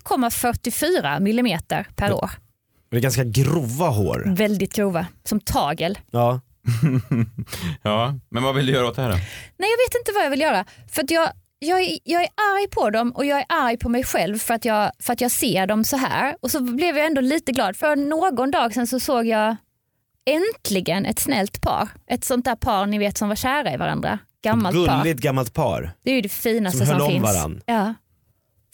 Speaker 4: 0,44 millimeter per år.
Speaker 2: Det är ganska grova hår.
Speaker 4: Väldigt grova, som tagel.
Speaker 2: Ja.
Speaker 1: Ja, men vad vill du göra åt det här då?
Speaker 4: Nej jag vet inte vad jag vill göra. För att jag, jag, är, jag är arg på dem och jag är arg på mig själv för att, jag, för att jag ser dem så här. Och så blev jag ändå lite glad för någon dag sedan så såg jag äntligen ett snällt par. Ett sånt där par ni vet som var kära i varandra. Gammalt par.
Speaker 2: Gulligt gammalt par.
Speaker 4: Det är ju det finaste
Speaker 2: Som
Speaker 4: som,
Speaker 2: höll om
Speaker 4: finns.
Speaker 2: varann.
Speaker 4: Ja,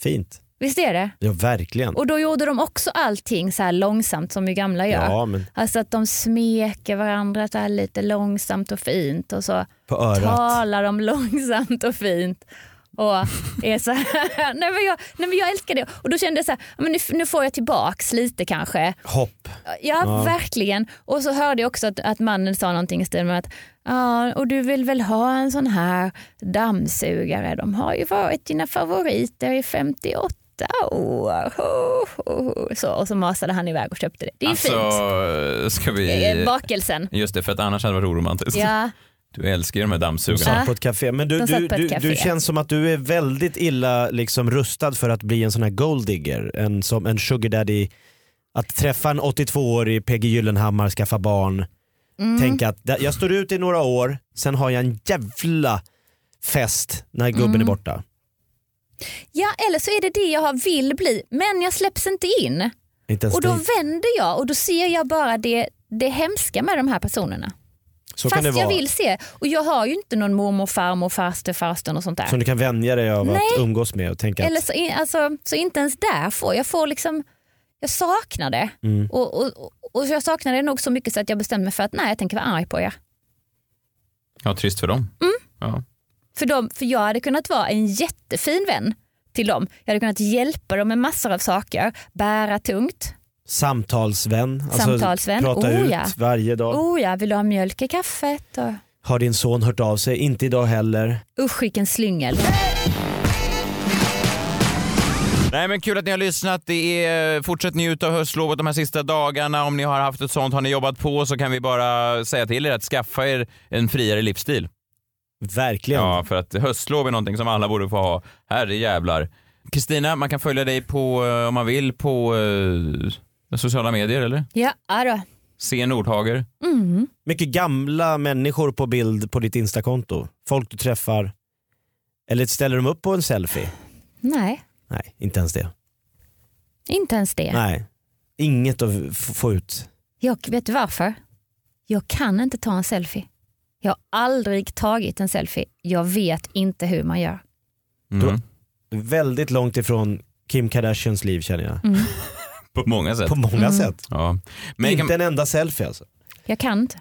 Speaker 2: Fint.
Speaker 4: visst är det?
Speaker 2: Ja, verkligen.
Speaker 4: Och då gjorde de också allting så här långsamt som ju gamla gör.
Speaker 2: Ja, men
Speaker 4: Alltså att de smeker varandra så här lite långsamt och fint och så
Speaker 2: på örat.
Speaker 4: talar de långsamt och fint. Och är så här. nej, men jag, nej men jag älskar det. Och då kände jag så här, ja, men nu, nu får jag tillbaks lite kanske.
Speaker 2: Hopp.
Speaker 4: Ja, verkligen. Och så hörde jag också att, att mannen sa någonting i stil med att ja, och du vill väl ha en sån här dammsugare. De har ju varit dina favoriter i 58 år. Ho, ho, ho. Så, och så masade han iväg och köpte det. Det är
Speaker 1: Alltså,
Speaker 4: fint.
Speaker 1: ska
Speaker 4: Eh,
Speaker 1: vi...
Speaker 4: Bakelsen.
Speaker 1: Just det, för att annars hade det varit oromantiskt.
Speaker 4: Ja.
Speaker 1: Du älskar ju de här dammsugarna.
Speaker 2: Satt på ett café. Men du,
Speaker 4: De satt
Speaker 2: du,
Speaker 4: på ett
Speaker 2: du,
Speaker 4: café.
Speaker 2: du känns som att du är väldigt illa liksom, rustad för att bli en sån här golddigger. En, som en sugar daddy. Att träffa en 82-årig PG Gyllenhammar, skaffa barn.
Speaker 4: Mm.
Speaker 2: Tänka att där- jag står ut i några år, sen har jag en jävla fest när gubben
Speaker 4: Mm.
Speaker 2: är borta.
Speaker 4: Ja, eller så är det det jag har- vill bli, men jag släpps inte in.
Speaker 2: Inte ens
Speaker 4: Och då
Speaker 2: dit.
Speaker 4: vänder jag och då ser jag bara det, det hemska med de här personerna.
Speaker 2: Så
Speaker 4: Fast
Speaker 2: kan det vara.
Speaker 4: jag vill se. Och jag har ju inte någon mormor, farmor, farster, farstern och sånt där.
Speaker 2: Som du kan vänja dig av att umgås med och tänka
Speaker 4: Eller
Speaker 2: att
Speaker 4: så, in- alltså, så inte ens där får jag. får liksom, jag saknar det.
Speaker 2: Mm.
Speaker 4: Och, och, och, och jag saknar det nog så mycket så att jag bestämde mig för att nej, jag tänker vara arg på er.
Speaker 1: Ja, trist för dem.
Speaker 4: Mm.
Speaker 1: Ja.
Speaker 4: För, dem, för jag hade kunnat vara en jättefin vän till dem. Jag hade kunnat hjälpa dem med massor av saker, bära tungt.
Speaker 2: samtalsvän, alltså
Speaker 4: Samtalsvän,
Speaker 2: prata
Speaker 4: oh
Speaker 2: ut
Speaker 4: ja.
Speaker 2: varje dag.
Speaker 4: Oh ja, vill du ha mjölk i kaffet? Och...
Speaker 2: Har din son hört av sig? Inte idag heller.
Speaker 4: Usch vilken slyngel.
Speaker 1: Nej men kul att ni har lyssnat. Det är, fortsätt njuta av höstlovet de här sista dagarna. Om ni har haft ett sånt, har ni jobbat på så kan vi bara säga till er att skaffa er en friare livsstil.
Speaker 2: Verkligen.
Speaker 1: Ja, för att höstlov är någonting som alla borde få ha. Herre jävlar. Kristina, man kan följa dig på, eh, om man vill, på eh, sociala medier eller?
Speaker 4: Ja, då.
Speaker 1: C Nordhager.
Speaker 4: Mm.
Speaker 2: Mycket gamla människor på bild på ditt instakonto. Folk du träffar. Eller ställer de upp på en selfie?
Speaker 4: Nej,
Speaker 2: Nej, inte ens det.
Speaker 4: inte ens det.
Speaker 2: Nej. Inget att f- få ut.
Speaker 4: Jag, vet du varför? Jag kan inte ta en selfie. Jag har aldrig tagit en selfie. Jag vet inte hur man gör.
Speaker 1: Mm.
Speaker 2: Väldigt långt ifrån Kim Kardashians liv känner
Speaker 4: Mm.
Speaker 2: jag.
Speaker 1: På många sätt.
Speaker 2: På många sätt.
Speaker 1: Ja. Mig kan,
Speaker 2: Inte en enda selfie alltså.
Speaker 4: Jag kan inte.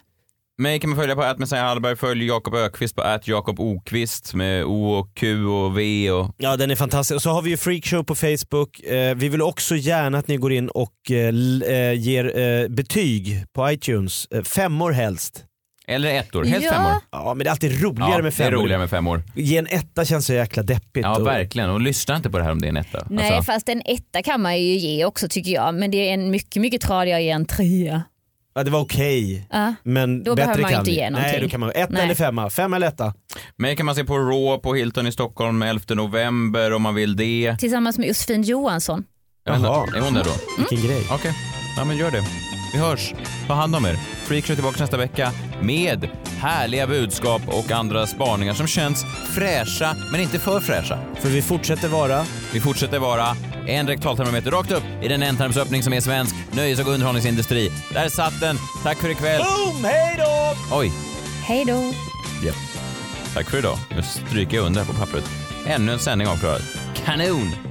Speaker 1: mig kan man följa på att Messiah Hallberg, följ Jakob Ökvist på att Jakob Okvist med O och Q och V och
Speaker 2: Ja den är fantastisk. Och så har vi ju Freakshow på Facebook. Eh, vi vill också gärna att ni går in och eh, l- eh, ger eh, betyg på iTunes. Eh, femmor helst.
Speaker 1: eller ettor, helst
Speaker 4: Ja.
Speaker 1: femmor.
Speaker 2: Ja men det är alltid roligare med
Speaker 1: det är
Speaker 2: femmor.
Speaker 1: roligare med femmor.
Speaker 2: Ge en etta känns så jäkla deppigt.
Speaker 1: Ja,
Speaker 2: och-
Speaker 1: verkligen. Och lyssna inte på det här om det är en etta.
Speaker 4: Nej,
Speaker 1: Alltså,
Speaker 4: fast en etta kan man ju ge också tycker jag. Men det är en mycket, mycket tradigare att ge en trea.
Speaker 2: ja, det var okej.
Speaker 4: Ja.
Speaker 2: Men
Speaker 4: Då
Speaker 2: bättre
Speaker 4: behöver man
Speaker 2: kan
Speaker 4: inte
Speaker 2: vi. Nej,
Speaker 4: ge någonting.
Speaker 2: då kan man etta
Speaker 4: Nej.
Speaker 2: eller femma. Femma eller etta.
Speaker 1: mig kan man se på Raw på Hilton i Stockholm 11 november om man vill det.
Speaker 4: Tillsammans med Josefin Johansson.
Speaker 2: Jaha.
Speaker 1: Är hon där då?
Speaker 2: Vilken
Speaker 4: Mm.
Speaker 2: grej.
Speaker 1: Okej, ja men gör det. Vi hörs. Ta hand om er. Freakshow är tillbaka nästa vecka med härliga budskap och andra spaningar som känns fräscha, men inte för fräscha.
Speaker 2: För vi fortsätter vara
Speaker 1: Vi fortsätter vara en rektaltermometer rakt upp i den ändtarmsöppning som är svensk nöjes och underhållningsindustri. Där satt den. Tack för ikväll.
Speaker 2: Boom! Oh, Hej då!
Speaker 1: Oj,
Speaker 4: Hej då!
Speaker 1: tack för idag. Nu stryker jag under här på pappret. Ännu en sändning avklarad. Kanon!